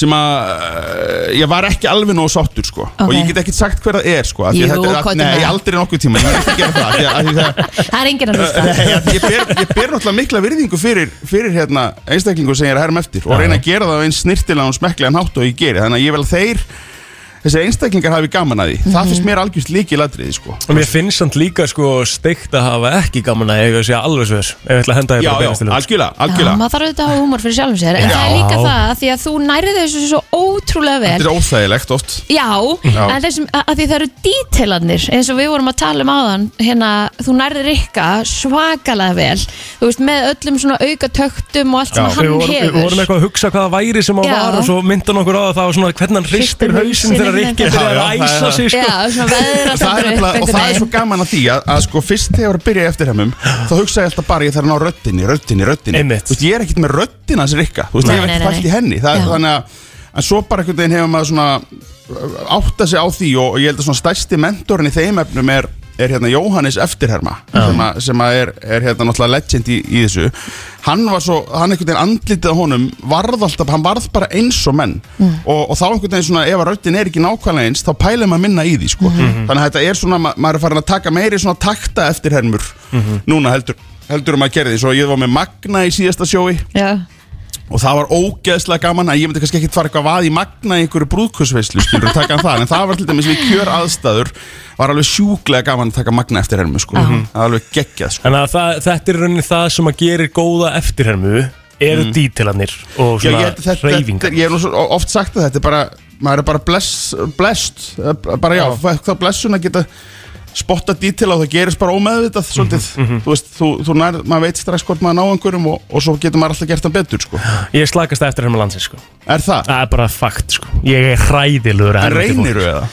sem að eh, ég var ekki alveg nógu sáttur sko og Ok. ég get ekki sagt hver það er sko af því Jú, að þetta er komdu að, nei, með. aldrei nokkuð tíma, ég er ekki að gera það af því að- af því að Það er enginn að hlusta. Nei, ég, ég, ber, ég ber náttúrulega mikla virðingu fyrir, fyrir hérna, einstaklingu sem ég er að herma eftir og reyna að gera það á eins snirtilega og smekklega nátt og ég geri þannig að ég vel að þeir þessi einstaklingar hafi gaman að því það Mhm. finnst mér algjörst líkilatriði sko Og mér finnst samt líka sko steikt að hafa ekki gaman að eiga að segja alveg svo þess Ef ég ætla að henda því Já, já, bara beinast til hans. algjörlega, Já, maður þarf auðvitað að hafa húmor fyrir sjálfum sér En Já. það er líka það, því að þú nærið þessu svo ótrúlega vel Þetta er óþægilegt oft Já, Já. en þessum, að að því það eru dítelarnir eins og við vorum að tala um áðan hérna, þú nærðir rikka svakalega vel þú veist, með öllum svona aukatöktum og allt sem Já. hann Við vorum- hefur Við vorum eitthvað að hugsa hvað það væri sem að Já. var og svo myndan okkur á það það var svona hvernig hann hristir hausinn þegar Rikki byrjar að æsa sig sko Já, svona veðrast það er alltaf upp nefnilega, og einhvern það er svo veginn. gaman að því að, að sko fyrst þegar ég var að byrja eftir hefnum þá hugsa ég alltaf bara ég þarf að ná röddinni, röddinni, röddinni Einmitt. Þú veist, ég er ekkert með röddina hans rikka Þú veist, Nei, ég hef nei, ekkert nei, fælt í nei. henni það, er- þannig að, en svo bara einhvern veginn hefur maður svona átta sig á því og, og ég held að svona stærsti mentorinn í þeim efnum er er hérna Jóhannes eftirherma sem, að, sem að er, er hérna náttúrulega legend í, í þessu hann var svo, hann einhvern veginn andlitið á honum varð alltaf, hann varð bara eins og menn Mm. og, og þá einhvern veginn svona ef að röddin er ekki nákvæmlega eins þá pælum maður minna í því sko. Mhm. þannig að þetta er svona, ma maður er farin að taka meiri svona takta eftirhermur núna heldur heldur um að gera því, svo ég var með Magna í síðasta sjói Já, og það var ógeðslega gaman að ég myndi kannski ekkert fara eitthvað vað í magna í einhverju brúðkursveislu skilur við taka hann það, en það var til dæmis við kjör aðstæður var alveg sjúklega gaman að taka magna eftir hermu sko, það var alveg geggjað sko. En að það, þetta er í rauninni það sem að gerir góða eftirhermu eru mm. Mm. dítilanir og Já, ég, svona held að þetta, hreyfingar. þetta, ég hef nú svo oft sagt að þetta er bara maður er bara bless, blessed eh, bara já, já. þá blessun að geta spotta dítila og það gerist bara ómeðvitað svolítið, Mhm, þú veist, þú, þú nær, maður veit strax hvort maður ná einhverjum og, og svo getur maður alltaf gert það betur sko. Ég er slakast eftir herma landsins sko Er það? Það er bara fakt sko Ég er hræðilugur En reynirðu eða?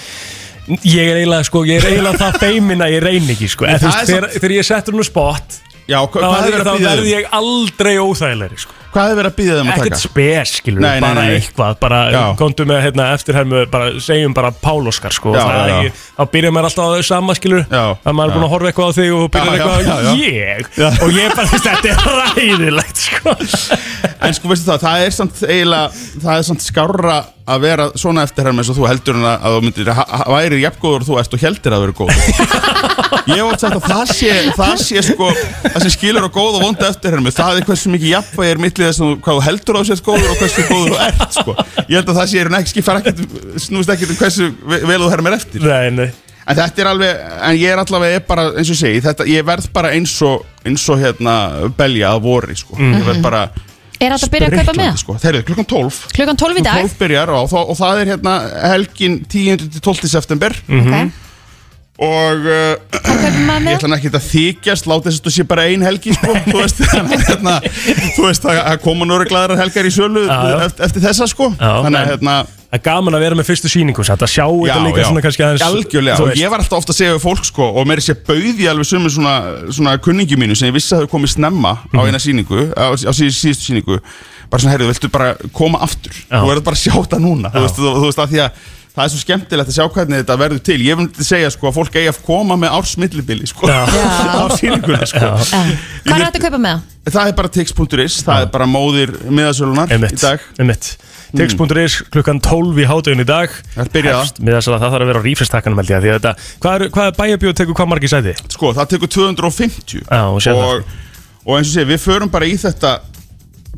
Ég er eiginlega sko, ég er eiginlega það feimin að ég reyni ekki sko En Það þú veist, er þegar, þegar ég settur nú spot Já, hva- hvað er verið að Þá bíða verð þér? ég aldrei óþægilegri sko Hvað er verið að býða þeim að taka? Ekkert spes, skilur Nei, nei, bara nei, nei. eitthvað Bara Já. komdu með hérna, eftirhermu, bara, segjum bara Pál Óskar sko Já, Það er já, já. ekki- Þá byrjar maður alltaf á þau sama, skilur já, Að maður er búin já. að horfa eitthvað á þig og Já, byrjar já, eitthvað á já, já. ég Og ég bara, þú veist, þetta er ræðilegt sko En sko veistu það, það er samt eiginlega Það er samt skárra að vera svona eftir herm eins og þú heldur en að, að þú myndir ha- ha- væri jafngóður og þú ert og heldur að vera góð Ég hef oft sagt að það sé það sé sko, það sem skilur á góð og vonda eftir hermi, það er hversu mikið jafnvægi er millið þess að þú- hvað þú heldur á sér góður og hversu góður þú ert sko. Ég held að það sé er ekki skifar ekkert, snúst ekkert um hversu ve- vel þú hermir eftir Nei, nei En þetta er alveg, en ég er allavega bara, eins og ég segi, þetta, ég verð bara eins og, eins og hérna, belja að vori, sko. Ég verð bara, Er þetta að byrja að kaupa spriklandi, með það? sko. Þeir eru klukkan 12 Klukkan 12 í dag? 12 byrjar á, og, þá- og það er hérna helgin 10. til 12. september Ok. Og uh, ég ætla hann ekki að þykjast Láta þess að þú sé bara ein helgi sko, Þú veist, þannig að, hérna, þú veist að, að koma nöru glæðar helgar í sölu Já, já. eftir, eftir þessa sko Þannig að hérna Það er gaman að vera með fyrstu sýningu satt að sjá þetta líka svona kannski aðeins algjörlega, þú og veist. ég var alltaf ofta að segja við fólk sko, og mér sé bauði alveg sumir svona, svona kunningi mínu sem ég vissi að þau komið snemma Mhm. á eina síningu, á, á síðustu, síðustu síningu bara svona, heyrðu, viltu bara koma aftur Já. þú verður bara að sjá þetta núna Já. þú veist, þú, þú veist, að því að það er svo skemmtilegt að sjá hvernig þetta verður til, ég vil segja sko að fólk eigi að koma með ársmillibili sko, á síninguna sko Hvað er þetta að kaupa með það? það er bara tix.is, það er bara móðir miðasölunar í dag Einmitt. Tix.is klukkan 12 í hátugun í dag Það byrjað. Með þess að það þarf að vera á rífistakkanum held ég af því að þetta, Hvað er, hvað er bæjabjóð tekur hvað margir sæti? Sko, það tekur 250 Já, og sér það og, og eins og sé, við förum bara í þetta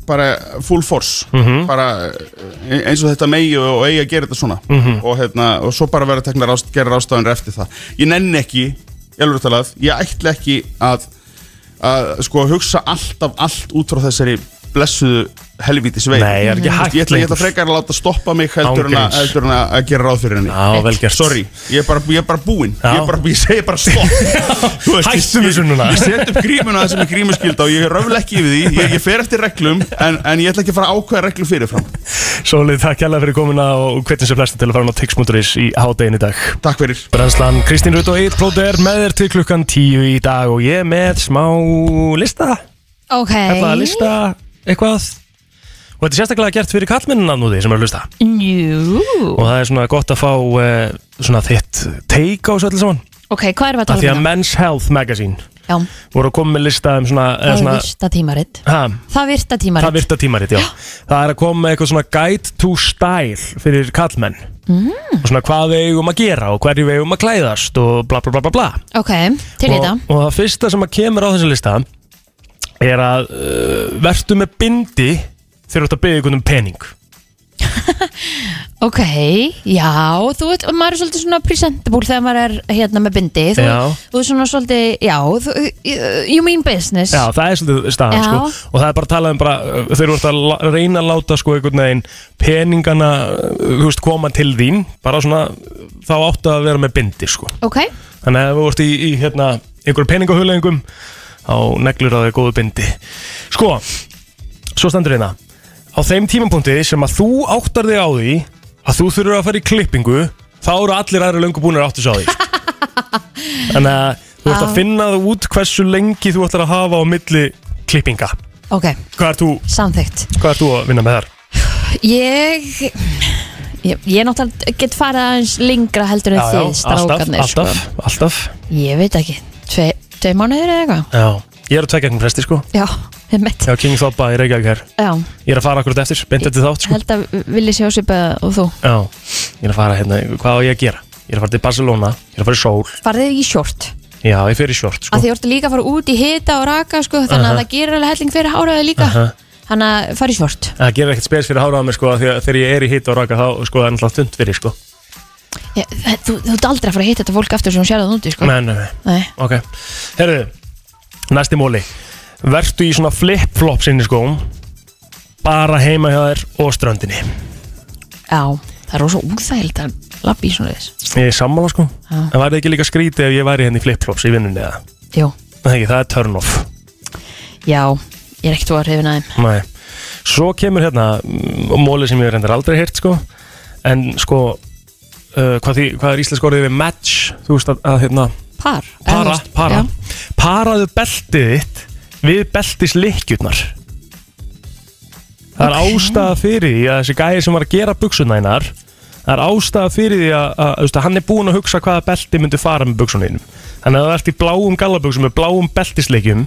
bara full force Mhm. bara eh, eins og þetta megi og, og eigi að gera þetta svona Mhm. og, hérna, og svo bara vera tekna rást, gera rástaðanir eftir það ég nenni ekki, ég alveg talað ég ætla ekki að, að sko hugsa allt af allt út frá þessari blessuðu helvítis vei Nei, það er ekki hægt ég ætla, ég ætla lengur. frekar að láta stoppa mig heldur en, að, Ángríns. heldur en að gera ráð fyrir henni Já, vel gert. sorry, ég er bara, ég er bara búinn ég, er bara, ég segi bara stopp Þú veist, ég- Hættum þessu núna. Ég set upp grímuna það sem er grímuskylda og ég röfla ekki yfir því Ég, ég fer eftir reglum en, en ég ætla ekki að fara að ákveða reglum fyrirfram Sólið, takk hella fyrir komuna og hvernig sem flesta til að fara inn á Tix.is í háttegin í dag Takk fyrir Brænslan Kristín Rutt og Eitt Plóter með þér til klukkan 10 í dag og ég með smá lista Ok Ætlaði að lista eitthvað Og þetta er sérstaklega gert fyrir kallmennin að núði sem er að lusta Jú og það er svona gott að fá uh, svona þitt take á þessu öllu saman Ok, hvað erum við að af tala því um að þetta? Men's Health Magazine Já, voru að koma með lista um svona, eða það er svona virta tímaritt ha, Það virta það tímaritt virta tímarit, já það er að koma með eitthvað svona guide to style fyrir kallmenn mm, og svona hvað við eigum að gera og hverju við eigum að klæðast og bla bla bla bla bla Ok, til í og, þetta og það fyrsta sem að kemur á þessu lista er að uh, vertu með bindi þegar þú ert að byggja einhvern um pening Ok, já, þú veit, og maður er svolítið svona presentable þegar maður er hérna með bindi Þú, Já. þú er svona svolítið, já, þú, you mean business Já, það er svolítið staðan Já. sko og það er bara að tala um bara uh, þeir eru að la- reyna að láta sko einhvern veginn peningana, uh, þú veist, koma til þín bara svona, uh, þá áttu að vera með bindi sko. Ok, Þannig að ef þú ert í, í hérna, einhverjum peningahulengum þá neglur að það er góðu bindi Sko, svo stendur hérna á þeim tímapunkti sem að þú áttar þig á því að þú þurfur að fara í klippingu þá eru allir aðri löngu búinir að áttu sig á því sko. Þannig að þú ert Já. að finna út hversu lengi þú ætlar að hafa á milli klippinga ok, Hvað ert þú, samþygt hvað ert þú að vinna með þar? Ég, ég, ég náttúrulega get farið aðeins lengra heldur en þið, strákarnir alltaf, alltaf, alltaf Sko. Ég veit ekki, tve, tvei mánuður eða eitthvað Já, ég er að tvekja einhvern fresti sko Já, ég mitt Já, King Thoppa í Reykjavík hér Já, Ég er að fara akkur eftir, beint eftir þátt sko held að vilji sjá svipa og þú Já, ég er að fara hérna, hvað á ég að gera? Ég er að fara til Barcelona, ég er að fara í sól Farðið í short Já, ég fer í short Af sko því þú ert líka að fara út í hita og raka sko, þannig Aha. að það gerir alveg helling fyrir háraði líka Aha. Þannig að fara í svort Það gerir ekkert spes fyrir hárað á mér sko af því að þegar ég er í hita og raka þá sko það er náttúrulega þund fyrir sko ég, Þú, þú ert aldrei að fara að hitta þetta fólk aftur sem hún sér það úti sko. Nei, nei, nei Nei. Ok, herðu, næsti móli Vertu í svona flip-flop sinni skóm Bara heima hjá þér og ströndinni Já, það er rosa úþægild að lappa í svona þess Ég er sammála sko Já. En væri það ekki líka skrítið ef ég væri henni í flip-flops í vinnunni eða Jú. Nei, ekki, það er turn off Já, ég er ekkert þú að hrifin aðeim Nei. Svo kemur hérna mm, móli sem ég reyndar aldrei heyrt sko. En sko uh, hvað, því, hvað er íslensk orðið við match Þú veist að, að hérna Par Para, para Paraðu beltið þitt við beltis lykkjurnar Það er ástæða fyrir því að þessi gæði sem var að gera buksunænar Það er ástæða fyrir því að, að, að, að hann er búinn að hugsa hvaða belti myndi fara með buksunæðinum Þannig að það ert í bláum gallabuksum með bláum beltisleikjum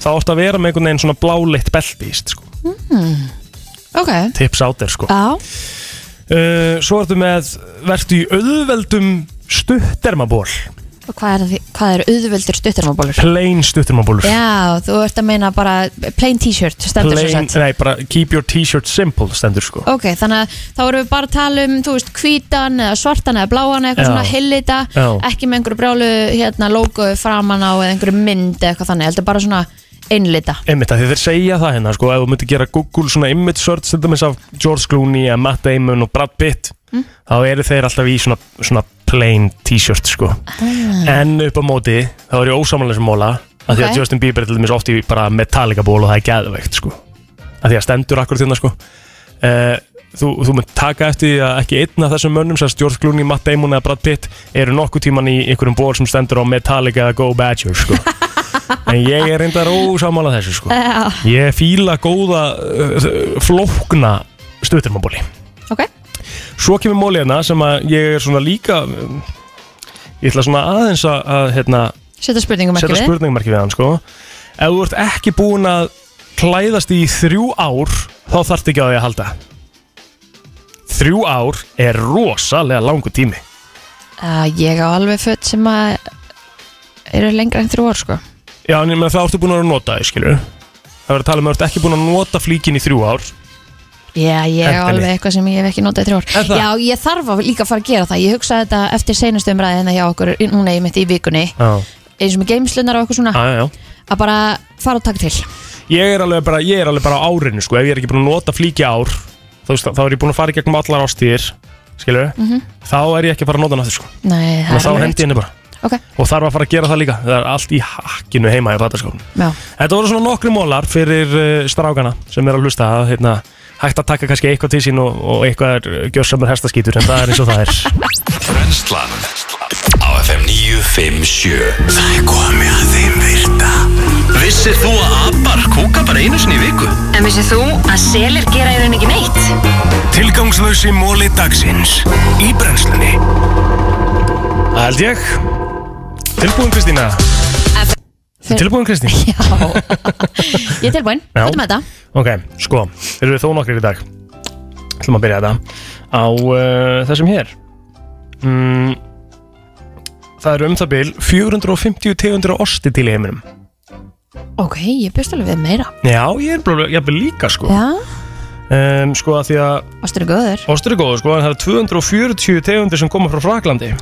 þá átt að vera með einhvern veginn svona bláleitt belti íst, sko. mm. Ok tips á þér sko. Já, uh, Svo ertu með vertu í auðveldum stuttermaból og hvað er, því- hvað er auðvöldur stuttarmabólur? plain stuttermabólur Já, þú ert að meina bara plain t-shirt stendur svo plain, sett nei, bara keep your t-shirt simple stendur sko Ok, þannig að þá erum við bara að tala um, þú veist, hvítan eða svartan eða bláan eða eitthvað Já. svona hillita, Já. ekki með einhverju brjálu hérna logo framan á eða einhverju mynd eða eitthvað þannig, heldur bara svona einlita. Einmitt að því þeir segja það hérna sko ef þú myndir gera Google svona image search til dæmis af George Clooney, eða Matt Damon og Brad Pitt þá eru þeir alltaf í svona, svona plain t-shirt sko en upp á móti þá er ég ósamlega sem móla að Ok. því að Justin Bieber er til dæmis oft í bara Metallica ból og það er geðveikt sko að því að stendur akkur þérna sko uh, þú, þú mynd taka eftir því að ekki einn af þessum mönnum sem George Clooney, Matt Damon eða Brad Pitt eru nokkuð tíman í einhverjum ból sem stendur á Metallica eða Go Badger sko en ég er reyndar ósamála þessu sko Já. Ég fíla góða uh, flókna stuttermabóli Ok. Svo kemur móli hérna sem að ég er svona líka um, ég ætla svona aðeins að, að hérna, Setta spurningum ekki setja spurningmarki við hann sko. Ef þú ert ekki búin að klæðast í þrjú ár þá þarftu ekki á því að halda Þrjú ár er rosalega langu tími ég á alveg fött sem að eru lengra en þrjú ár, sko. Já, en ég meina þá ertu búin að nota því, skilur Það verður að tala um að þú ert ekki búin að nota flíkin í þrjú ár Já, ég á Endaleg. alveg eitthvað sem ég hef ekki notað í þrjú ár. Já, ég þarf að líka að fara að gera það. Ég hugsaði þetta eftir seinustu umræðina hjá okkur, núna ég mitt í vikunni, Já, eins og með geimslunar og eitthvað svona, já, já, já. að bara fara og taka til. ég er alveg bara, ég er alveg bara á árinu sko, ef ég er ekki búin að nota flíki ár þú veist, þá er ég búin að fara í gegnum allar ástíðir skilur við, Mhm. þá er ég ekki að fara að nota náttúr sko, Nei, það þannig að er þá alveg hendi ég henni bara Ok. og þarf að fara að gera það líka, það er allt í hakkinu heima í rataskófnum. Já. Þetta voru svona nokkri mólar fyrir uh, strákana sem er að hlusta að hérna, hægt að taka kannski eitthvað til sín og, og eitthvað er uh, gjörsamur hestaskítur en það er eins og það er Brennslan Á FM 957 Það er komið að þeim virta Vissir þú að abar kúka bara einu sinni í viku? En vissið þú að selir gera í rauninni ekki neitt? Tilgangslösi móli dagsins Í brennslunni Það held ég Tilbúin Kristína Fyr- Tilbúin Kristín Ég er tilbúin, Já. hvað er með þetta? Ok, sko, þeir eru þó nokkrir í dag ætlum að byrja þetta á uh, þessum hér mm, Það eru um það bil 450 tegundir af osti til í heiminum Ok, ég bjóst alveg við meira Já, ég er bara, ég er líka sko Já, um, Sko að því að ostur er góður Ostur er góður sko, en það eru 240 tegundir sem koma frá Fraklandi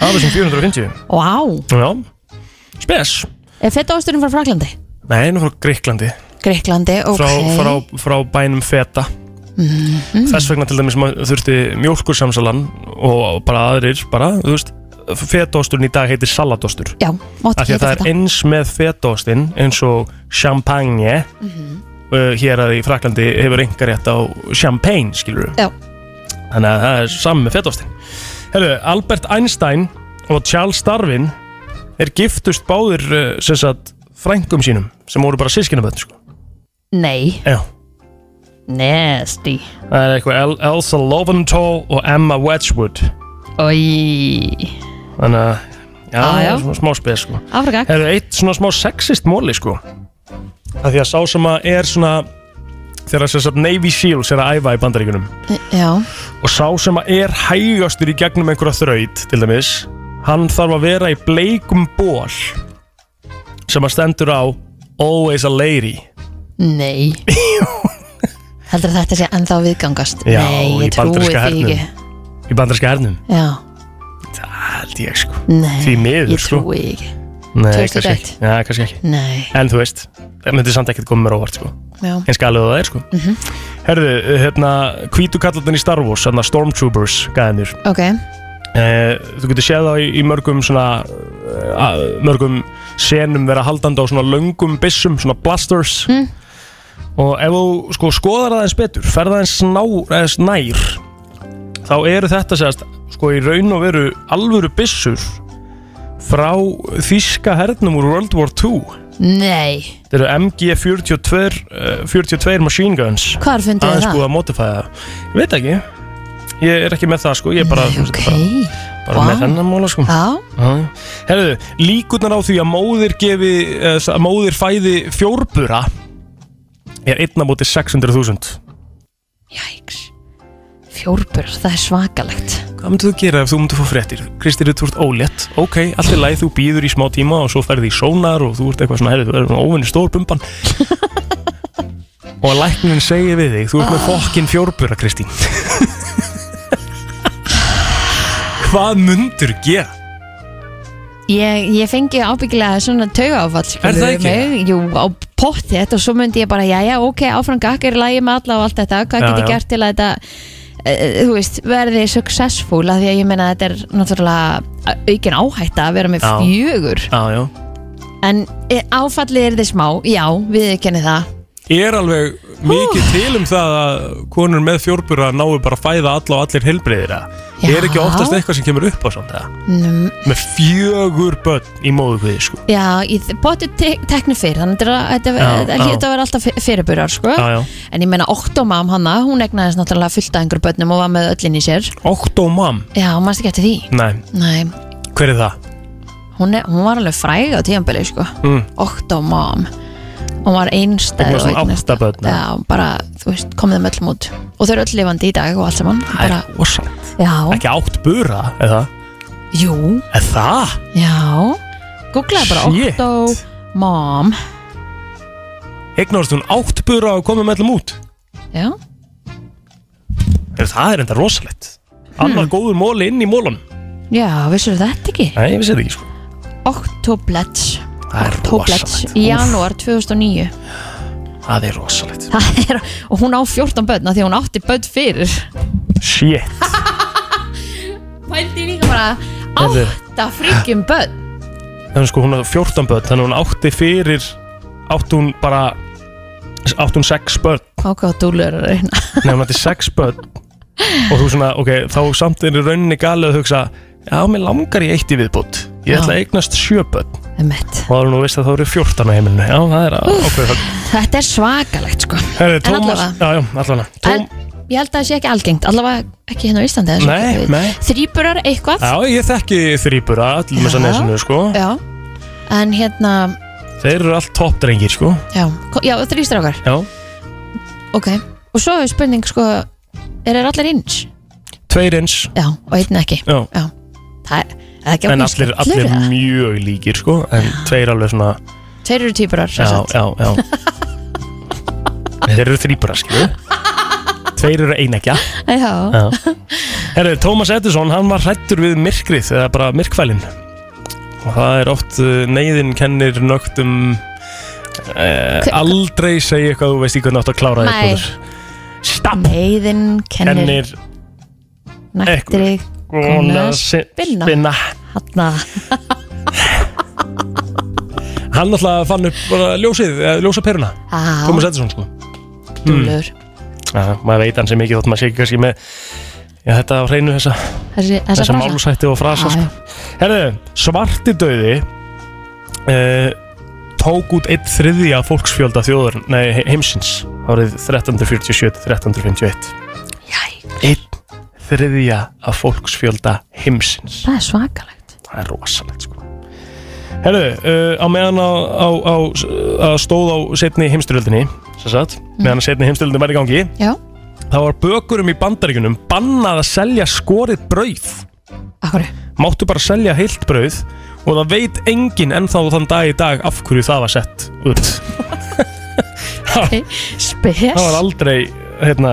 Af þessum 450 Vá, wow. Já, spes er feta osturinn frá Fraklandi? Nei, nú frá Gríklandi Greiklandi, ok frá, frá, frá bænum feta Mhm. þess vegna til dæmis maður þurfti mjólkursamsalan og bara aðrir bara, þú veist, fetaosturinn í dag heitir salatostur Já, mátti af ekki því að það þetta er eins með fetaostinn eins og champagne Mhm. uh, hér að í Fraklandi hefur einhverjætt á champagne skilur Já. þannig að það er saman með fetaostinn Herru, Albert Einstein og Charles Darwin er giftust báðir uh, sem sagt frængum sínum sem voru bara sískinabönd sko. Nei, Já nasty Það er eitthvað El Elsa Loventhal og Emma Wedgwood Oi Þannig að Já, Á, ah, já. svona smá spes sko Afrika Það er eitt svona smá sexist móli sko Það því að sá sem að er svona Þegar þess að Navy Seals er að æfa í bandaríkunum Já, Og sá sem að er hægastur í gegnum einhverja þraut Til dæmis Hann þarf að vera í bleikum ból Sem að stendur á Always a lady Nei Heldur að þetta sé ennþá að viðgangast Já, Nei, í ég trúi bandaríska því hernum ekki Í bandarska hernum, Já, það held ég sko Nei, Því miður ég sko trúi ekki Nei, 2001. kannski ekki. Já, kannski ekki Nei. En þú veist, það myndi samt ekkert koma mér óvart sko Já. En skalið það er sko mm Mhm. Herðu, hérna, hvítu kallarnir í Star Wars Hérna Stormtroopers, gæðinir Ok, Eh, þú getur séð þá í, í mörgum svona, uh, mörgum senum vera haldandi á svona löngum byssum, svona blasters og ef þú sko skoðar það eins betur, ferð það eins, ná, eins nær þá eru þetta segast, sko í raun og veru alvöru byssur frá þýska hernum úr World War II nei þetta eru MG42 uh, 42 machine guns Hvar funduð þið það? Aðeins búið að modifæða það? Ég veit ekki Ég er ekki með það sko Ég er bara, Nei, okay. bara, bara Vá. með þennan mála sko Já. Herðu, líkurnar á því að móðir gefi eh, að móðir fæði fjórbura er einna móti 600.000 Fjórbur, það er svakalegt Hvað myndir þú gera ef þú myndir fá fréttir? Kristir, þú ert ólétt Ok, allt er læð, þú býður í smá tíma og svo ferði í sónar og þú ert eitthvað svona herri, þú ert óvinni stór bumban og læknin segir við þig þú ert með fokkin fjórbura, Kristín Hvað myndir gera? Ég, ég fengi ábyggilega svona taugáfall Er það ekki? Jú, á potti þetta og svo myndi ég bara, jæja, ok, áfram gakk er lægi með alla og allt þetta, hvað Já, get ég já. gert til að þetta eh, þú veist, verði successful af því að ég meina að þetta er náttúrulega aukin áhætta að vera með Já. fjögur Já, já en eh, áfallið er þið smá, já, við kenni það er alveg mikið til um það að konur með fjórbura náu bara að fæða alla og allir helbreyðir það er ekki oftast eitthvað sem kemur upp á samt það Mm, með fjögur börn í móðukviði sko Já, ég bóti te tekni fyrir þannig að þetta Já, þetta já. hljóta að vera alltaf fyr- fyrirburar sko. Já, já. en ég meina Octomam hana, hún egnaðist náttúrulega fullt af einhverjum börnum og var með öllin í sér Octomam? Já, mannst ekki eftir því Nei, Nei, hver er það? hún, er, hún var alveg fræg á tíðanbili sko. Mm. Octomam hún var einstæð Eitthvað og svona eignaðist- átta börn eða? Já, bara, þú veist, komið með öllum út og þau eru öll lifandi í dag og allt saman Það er bara, rosalegt Já, Ekki átt bura, eða? Jú Er það? já Googlaði bara Shit. Octomam Eignast hún átt bura og komið með allum út? Já Er það er enda rosalegt Annar góður móli inn í mólun Já, vissur þetta ekki? Nei, ég vissi þetta ekki sko Octoblets Það er Octoblets rosalegt. í janúar 2009 Það er rosalegt Það er, og hún á 14 börn af því að hún átti börn fyrir Shit Pældi líka bara Heyrðu. átta fríkjum börn þannig sko hún á 14 börn þannig hún átti fyrir átti hún bara átti hún 6 börn Ákvað dúlur að reyna nefnum hún átti 6 börn og þú svona, ok, þá samt er í rauninni galið að hugsa já, mér langar ég eitt í viðbútt Já. ég ætla að eignast 7 börn Emmett. og þá er nú veist að þá eru 14 á heimilinu já, það er ákveð högg Þetta er svakalegt sko Herri, En Tómas, allavega. já, já, allavega en, Ég held að það sé ekki algengt allavega ekki hérna á Íslandi eða svo. Nei, nei. Þríburar eitthvað Já, ég þekki þrýbura, allir með Já. sannesinu, sko Já. En hérna Þeir eru allt toppdrengir, sko Já, ko- já þrýstrákar Já, Ok Og svo er spurning sko Er þeir allir eins? tveir eins Já, og einn ekki Já, Það er, er það ekki en ákveðin allir, skellur, allir eða? mjög líkir, sko En tveir alveg svona Tveir eru týpurar sem já, sagt. já, já. Þeir eru þrýbara, skilu Tveir eru einekja Já. Já. Herri, Tómas Edison, hann var hrættur við myrkrið eða bara myrkfælin og það er oft uh, neyðin kennir nögtum eh, Hver- aldrei segja eitthvað þú veist í hvernig átt að klára Nei. þér Stapp Neiðin kennir kennir Nættri Kona Kona sin- Spinna spinna. Hanna hann alltaf fann upp bara ljósið, eh, ljósaperuna Á. Tómas Edison sko Dúllur. Mm. Já, maður veit hann sem ekki þótt maður sé ekki kannski með já, þetta á hreinu þessa, Þessi- þessa frasa. málsætti og frasa Já, sko. Herðu, svarti döði uh, tók út einn þriðja fólksfjölda þjóður nei, he- heimsins árið 1347-1351 einn þriðja af fólksfjölda heimsins Það er svakalegt Það er rosalegt sko Herðu, uh, á meðan á, á, á, að stóð á setni heimstyrjöldinni sem sagt, Mm. meðan að setni heimstyrjöldin væri í gangi Já. þá var bökurum í bandaríkunum bannað að selja skorið brauð Akkur Máttu bara selja heilt brauð og það veit enginn ennþá þann dag í dag af hverju það var sett út Ok, Spes Ah. Það var aldrei, hérna,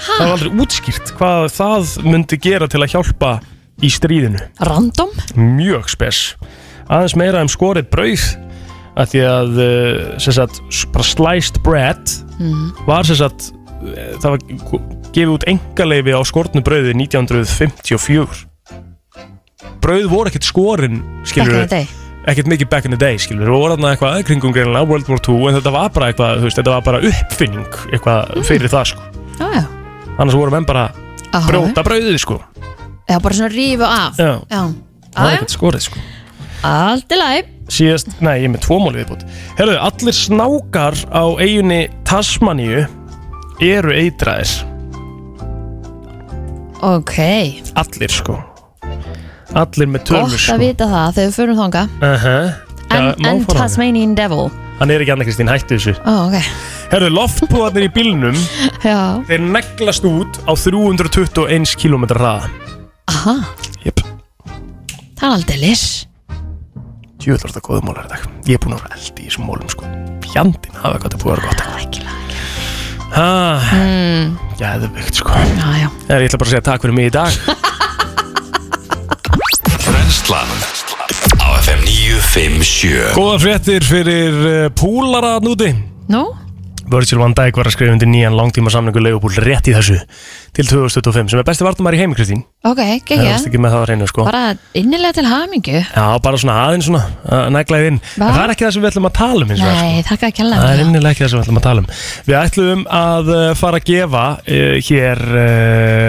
það var aldrei útskýrt hvað það myndi gera til að hjálpa í stríðinu. Random? Mjög spes. Aðeins meira um skorið brauð, að því að, eh, sem sagt, s- bara sliced bread Mhm. var sem sagt, eh, það var gefið út engaleifi á skortnu brauði 1954. Brauð voru ekkert skorin, skilur Back in the day. ekkert mikið back in the day, skilur við vorum þarna eitthvað kringum greinlega World War II en þetta var bara eitthvað, þú veist, þetta var bara uppfinning eitthvað fyrir það, sko Já, já. annars voru menn bara Aha. brjóta brauðið, sko Já, bara svona rífu af Já. Já, það var já. ekkert skorið, sko Allt í lagi síðast, nei, ég er með tvo málið viðbútt Herðu, allir snákar á eiginni Tasmaníu eru eitraðir Ok, allir, sko allir með tölur, gott sko að vita það þegar við förum þanga uh -huh. En, en Tasmanian Devil hann er ekki annað Kristín, hættu þessu Ó, ok Herðu, loftbúðarnir í bílnum Já, Þeir neglast út á 321 km hraða aha Jöp. Það er aldrei lis Tjóðlar þetta góðum málar í dag Ég er búin að vera eld í þessum málum sko Pjandin hafa hvað þetta búið að vera gott Ækilega Gæðvegt sko Já, já Það er ég ætla bara að segja takk fyrir mig í dag Brennslan Á FM 957 Góða fréttir fyrir uh, púlara að núti Nú? Virgil van Dijk var að skrifa undir nýjan langtíma samningu leigubúl rétt í þessu til 2025 sem er besti vartamæri í heimi Kristín Ok, Það varst gekkja ekki með það að reyna sko Bara innilega til hamingju Já, bara svona aðeins svona að negla þið inn En Va? það er ekki það sem við ætlum að tala um hins vegar, sko. Nei, takk að kella Það er innilega ekki það sem við ætlum að tala um Við ætlum að eh, fara að gefa uh, hér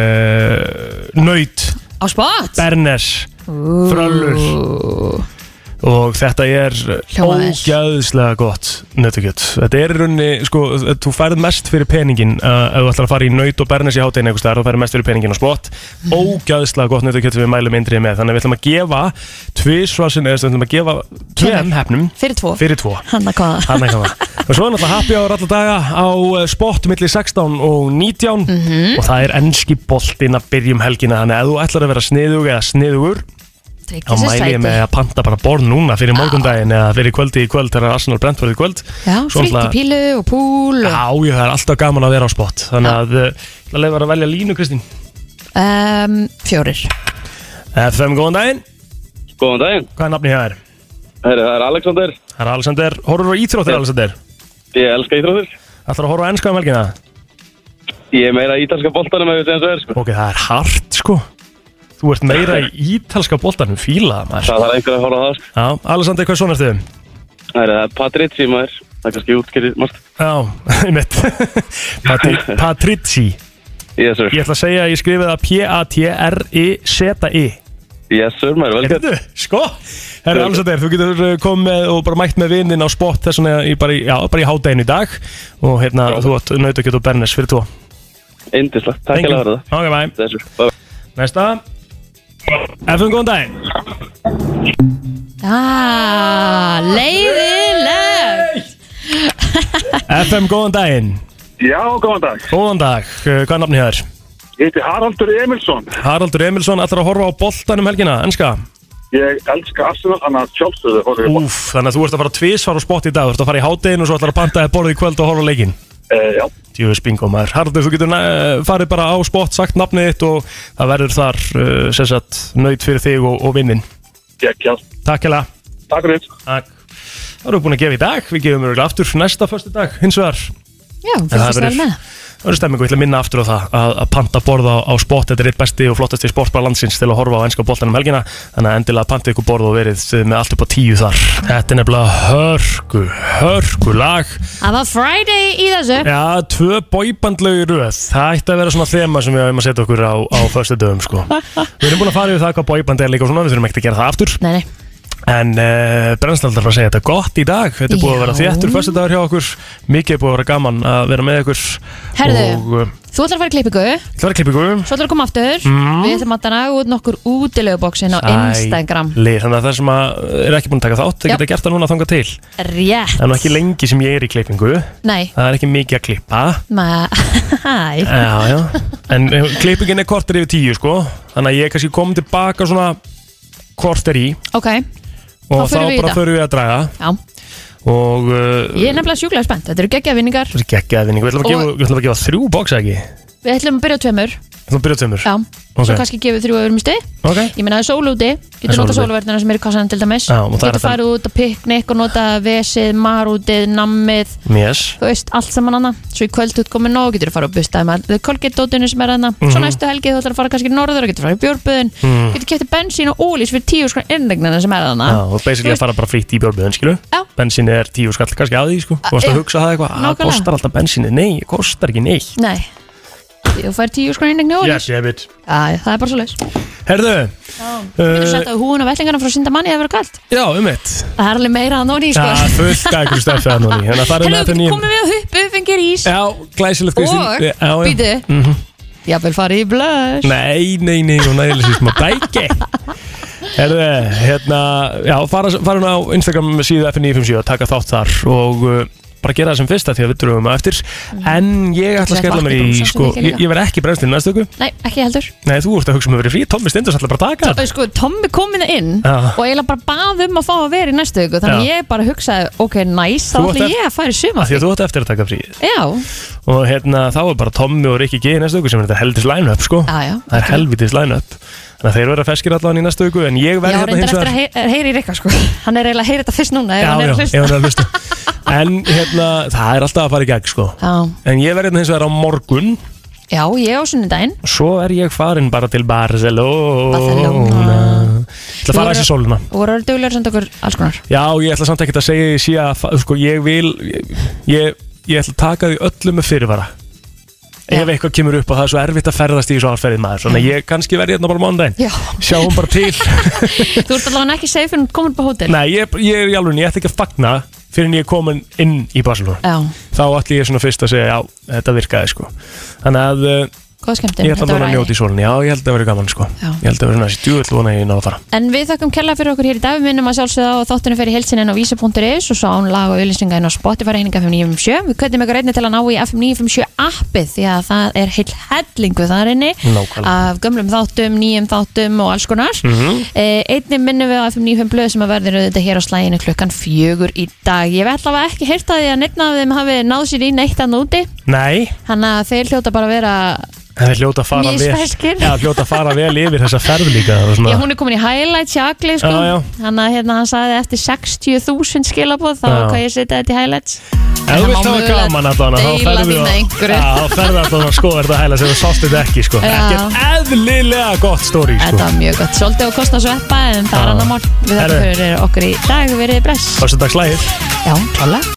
uh, Naut Á spott Bernes Fröllur Og þetta er Hljómaður. ógæðislega gott nautakjöt Þetta er í rauninni, sko, þú færð mest fyrir peningin uh, ef þú ætlar að fara í naut og bernes í hátæðin einhvers staðar, þú færð mest fyrir peningin á spott Ógæðislega gott nautakjöt sem við mælum indrið með Þannig að við ætlum að gefa tvisvarsin, eða við ætlum að gefa tveim hefnum Fyrir tvo Fyrir tvo Hanna hvaða Hanna ekki það. Og svo er náttúrulega happy hour alla daga á eh, spot milli 16 og 19 og það er enski boltinn að byrja um helgina þannig að ef þú ætlar að vera sniðug eða sniðugur þá Tryggja sér mæli ég sæti með að panta bara borð núna fyrir morgundaginn eða fyrir kvöldi í kvöld þegar Arsenal brent verið í kvöld Já, Svo fritt í náttúrulega- pílu og púl og- Já, jú, það er alltaf gaman að vera á spot þannig að eh, ég ætla að leifa þér að velja línu Kristín um, Fjórir FM, góðan daginn Góðan daginn Hvað er nafni hjá þér? Herri, það er Alexander Það er Alexander, horfur á íþróttir Alexander Ég elska íþróttir Ætlar að horfa á enska um helgina? Ég er meira í ítalska boltanum ef við segjum svo er sko Ok, það er hart sko Þú ert meira í ítalska boltanum, fílaða maður Það þarf einhver að horfa á það sko Já, Alessandri, hvað svona ertu? Herri, það er Patrizzi maður Það er kannski útskýrið margt Já, einmitt Patri- Patrizzi Yes sir Ég ætla að segja að ég skrifið það P-A-T-R-I-Z-I Yes sir maður, vel gert E. Heyrðu, sko Herra Alessandri, þú getur uh, komið með og bara mætt með vinnin á spott þess vegna í bara, í- já, bara í hádeginu í dag og hérna, þú átt nautakjöt og bernes fyrir tvo Indislega, takk Thank you. alveg fyrir það Ok, bye Yes sir, bye Næsta FM, góðan daginn Ah, leiðilegt FM, góðan daginn Já, góðan dag. Góðan dag, uh, hvað er nafni hér? Ég heiti Haraldur Emilsson. Haraldur Emilsson ætlar að horfa á boltanum helgina, ennska Ég elska Arsenal, hann að sjálfsögðu horfið upp. Úf, þannig að þú ert að fara tvísvar á spott í dag Þú ert að fara í hádegin og svo ætlar að panta þér borðið í kvöld og horfa á leikinn Uh, já, Djúvis bingo maður Haraldur, þú getur uh, farið bara á spott, sagt nafnið þitt og það verður þar uh, sem sagt nöyt fyrir þig og, og vinnin geggjað. Takk hella Takk fyrir. Takk Það erum við búin að gefa í dag, við gefum örugglega aftur næsta förstu dag, hins vegar Já, En það fyrst að verður- með Það verður stemming og ég ætla að minna aftur á það að, að panta borð á, á sport, þetta er eitt besti og flottasti sportbar landsins til að horfa á enska boltanum um helgina þannig að endilega panta ykkur borð og verið með allt upp á tíu þar Þetta er nefnilega hörku, hörku lag Það var Friday í þessu Já, tvö bóibandlegu röð Það ætti að vera svona þema sem við höfum að setja okkur á, á föstu dögum sko. Við erum búin að fara yfir það hvað bóiband er líka og svona Við þurfum ekkert að gera það aftur Nei, nei. En uh, brennstaldar var að segja þetta er gott í dag Þetta er búið að vera Já. þéttur föstu dagur hjá okkur Mikið er búið að vera gaman að vera með ykkur Herðu. Og uh, Þú ætlar að fara í klippingu Svo það var klippingu ætlar að koma aftur Mm. Við ætlum að draga út nokkur útileguboksin á Instagram Æli, Þannig að það sem að er ekki búin að taka þátt Það Já. geta gert það núna að til Það Rétt er nú ekki lengi sem ég er í klippingu Nei, Það er ekki mikið að klippa ma Hæ Já, já En eh, klippingin er kortir yfir tíu, sko Þannig að ég er kannski kom tilbaka svona kortir í Ok, Og Þá förum við í bara þetta. förum við að draga já og uh, Ég er nefnilega sjúklega spennt, þetta eru geggja vinningar það er geggjaðin við ætlum að Og- gefa, við ætlum að gefa þrjú bóks ekki við Við ætlum að byrja á tveimur ætlum að byrja á tveimur Já, Ok. svo kannski gefið þrjú öðrum í stið Ok. Ég meina það er sól úti, Það er getur nota sól úti. sólverðina sem er í kassanum til dæmis Já, og það er Getur þetta- farið út að piknik og nota vesið, marútið, nammið yes. Þú veist, allt saman annað Svo í kvöld útkomið nóg, getur farið að busta með The Colgate dótinu sem er annað Svo Mhm. næstu helgið þú ætlar að fara kannski norður og getur farið í björböðin Mhm. Getur kæfti bensín og ólís fyrir tíu skrann innregnina sem er Já, annað og basically að fara bara frítt í björnböðin, skilu Bensin er tíu skall kannski að því, sko Þú varst Ah, já. að hugsa það eitthvað, að Nákvæmlega. kostar alltaf bensinni Nei, það kostar ekki neitt Nei, þú fær tíu skrann innregni og ólís Yes, ég veit Æ, það er bara svo leis Herðu Þú uh, sett á húun og vellingarna frá sindamanni ef það verður kalt Já, um eitt Það er alveg meira að nóni Já, sko. fullt að ykkur stöfið að núni Þannig að Hérna, það er með þetta nýjum Komum við að huppu, fengir ís Já, glæsilegt Kristín Já, já. Og, býtu, Mhm. jafnvel farið í blöð Nei, nei, nei, hún nægilega sér smá dæki Herðu, hérna Já, fara, fara hún á Instagram síðu FN957 og taka þátt þar og uh, bara gera það sem fyrsta því að við dröfum að eftir en ég ætla að Mm. Ætlaði skella vatn mér í í brúsan sko, svo mikið ég, ég verð ekki brennstinn næstu öku Nei, ekki heldur Nei, þú ert að hugsa um að vera í frí Tommi Stindus ætla bara að taka það sko, Tommi kom minna inn Já. og eiginlega bara bað um að fá að vera í næstu viku þannig Já. ég bara hugsaði, ok, næs þá Þú átt ætla eft- ég að fara í Af suma Því að þú ætti eftir að taka frí Já, og hérna þá er bara Tommi og Rikki G í næstu öku sem er þetta helvitis line-up sko já, já Það er helvitis line-up Þannig að þeir verða feskir allan í næstu öku en ég Já, verð hérna reyndar hins eftir vegar að hey- er- heyra í Rikka sko Hann er eiginlega að heyra þetta fyrst núna ef Já, hann er að hlusta. já, ef hann er að hlusta En hérna, það er alltaf að fara í gegn sko Já. En ég verði hérna hins vegar á morgun Já, ég á sunnudaginn Svo er ég farin bara til Barcelona Barcelona Það fara þessi sóluna og voru að duglur senda okkur alls konar Já, ég ætla samt ekki að segja því síðan að sko, ég vil ég, ég ætla að taka því öllu með fyrirvara Ef eitthvað kemur upp og það er svo erfitt að ferðast í svo árferðið maður Svona ég kannski verði hérna bara á mánudaginn Já. Sjáum bara til Þú ert allavega ekki safe um en komin på hótel Nei, ég, ég er í alveg, ég ætti ekki að fagna fyrir en ég er komin inn í Barcelona Já. Þá ætti ég svona fyrst að segja, já, þetta virkaði sko Þannig að uh, Góð skemmtum, ég ætla þetta núna var að æði. njóta í sólunni, já, ég held að vera gaman sko Já. Ég held að vera næst, djúvill vona ég ná að fara En við þakkum kella fyrir okkur hér í dag Við minnum að sjálfsögða á þáttunum fyrir helsinin á vísa.is og svo án lag og auðlýsinga inn á Spotify reyninga 597. Við kvöldum ykkur einnig til að ná í FM 957 appið því að það er heil hellingu þar inni Nákvæmlega. af gömlum þáttum, nýjum þáttum og alls konar mm Mhm. Einnig minnum við á FM 95 blöð sem að verður auðvitað hér á slæginu klukkan fjögur í dag Ég verð allavega ekki heyrt að því að neittna af þeim hafi náð sér í neitt að núti Nei, Þannig að þeir hljóta bara að vera það er hljóta að fara Misfeskir. vel Já, hljóta að fara vel yfir þessa ferð líka og Já, svona. hún er komin í highlights hjá Agli, sko. Já, já. Hann að hérna, hann sagði eftir 60.000 skilabóð, þá Já. hvað ég að setja þetta í highlights. Ef þú vilt hafa gaman að þarna, þá deila ferðu því með að- einhverju. Já, þá ferðu að þarna að skoða þetta hæla sem þú sást þetta ekki sko Já. Ekkert eðlilega gott stóri sko Þetta var mjög gott. Svolítið og kostna sveppa, en það Já. er annar mál. Við Herru. þakkum fyrir okkur í dag, verið bless. Föstudagslægir Já, klálega.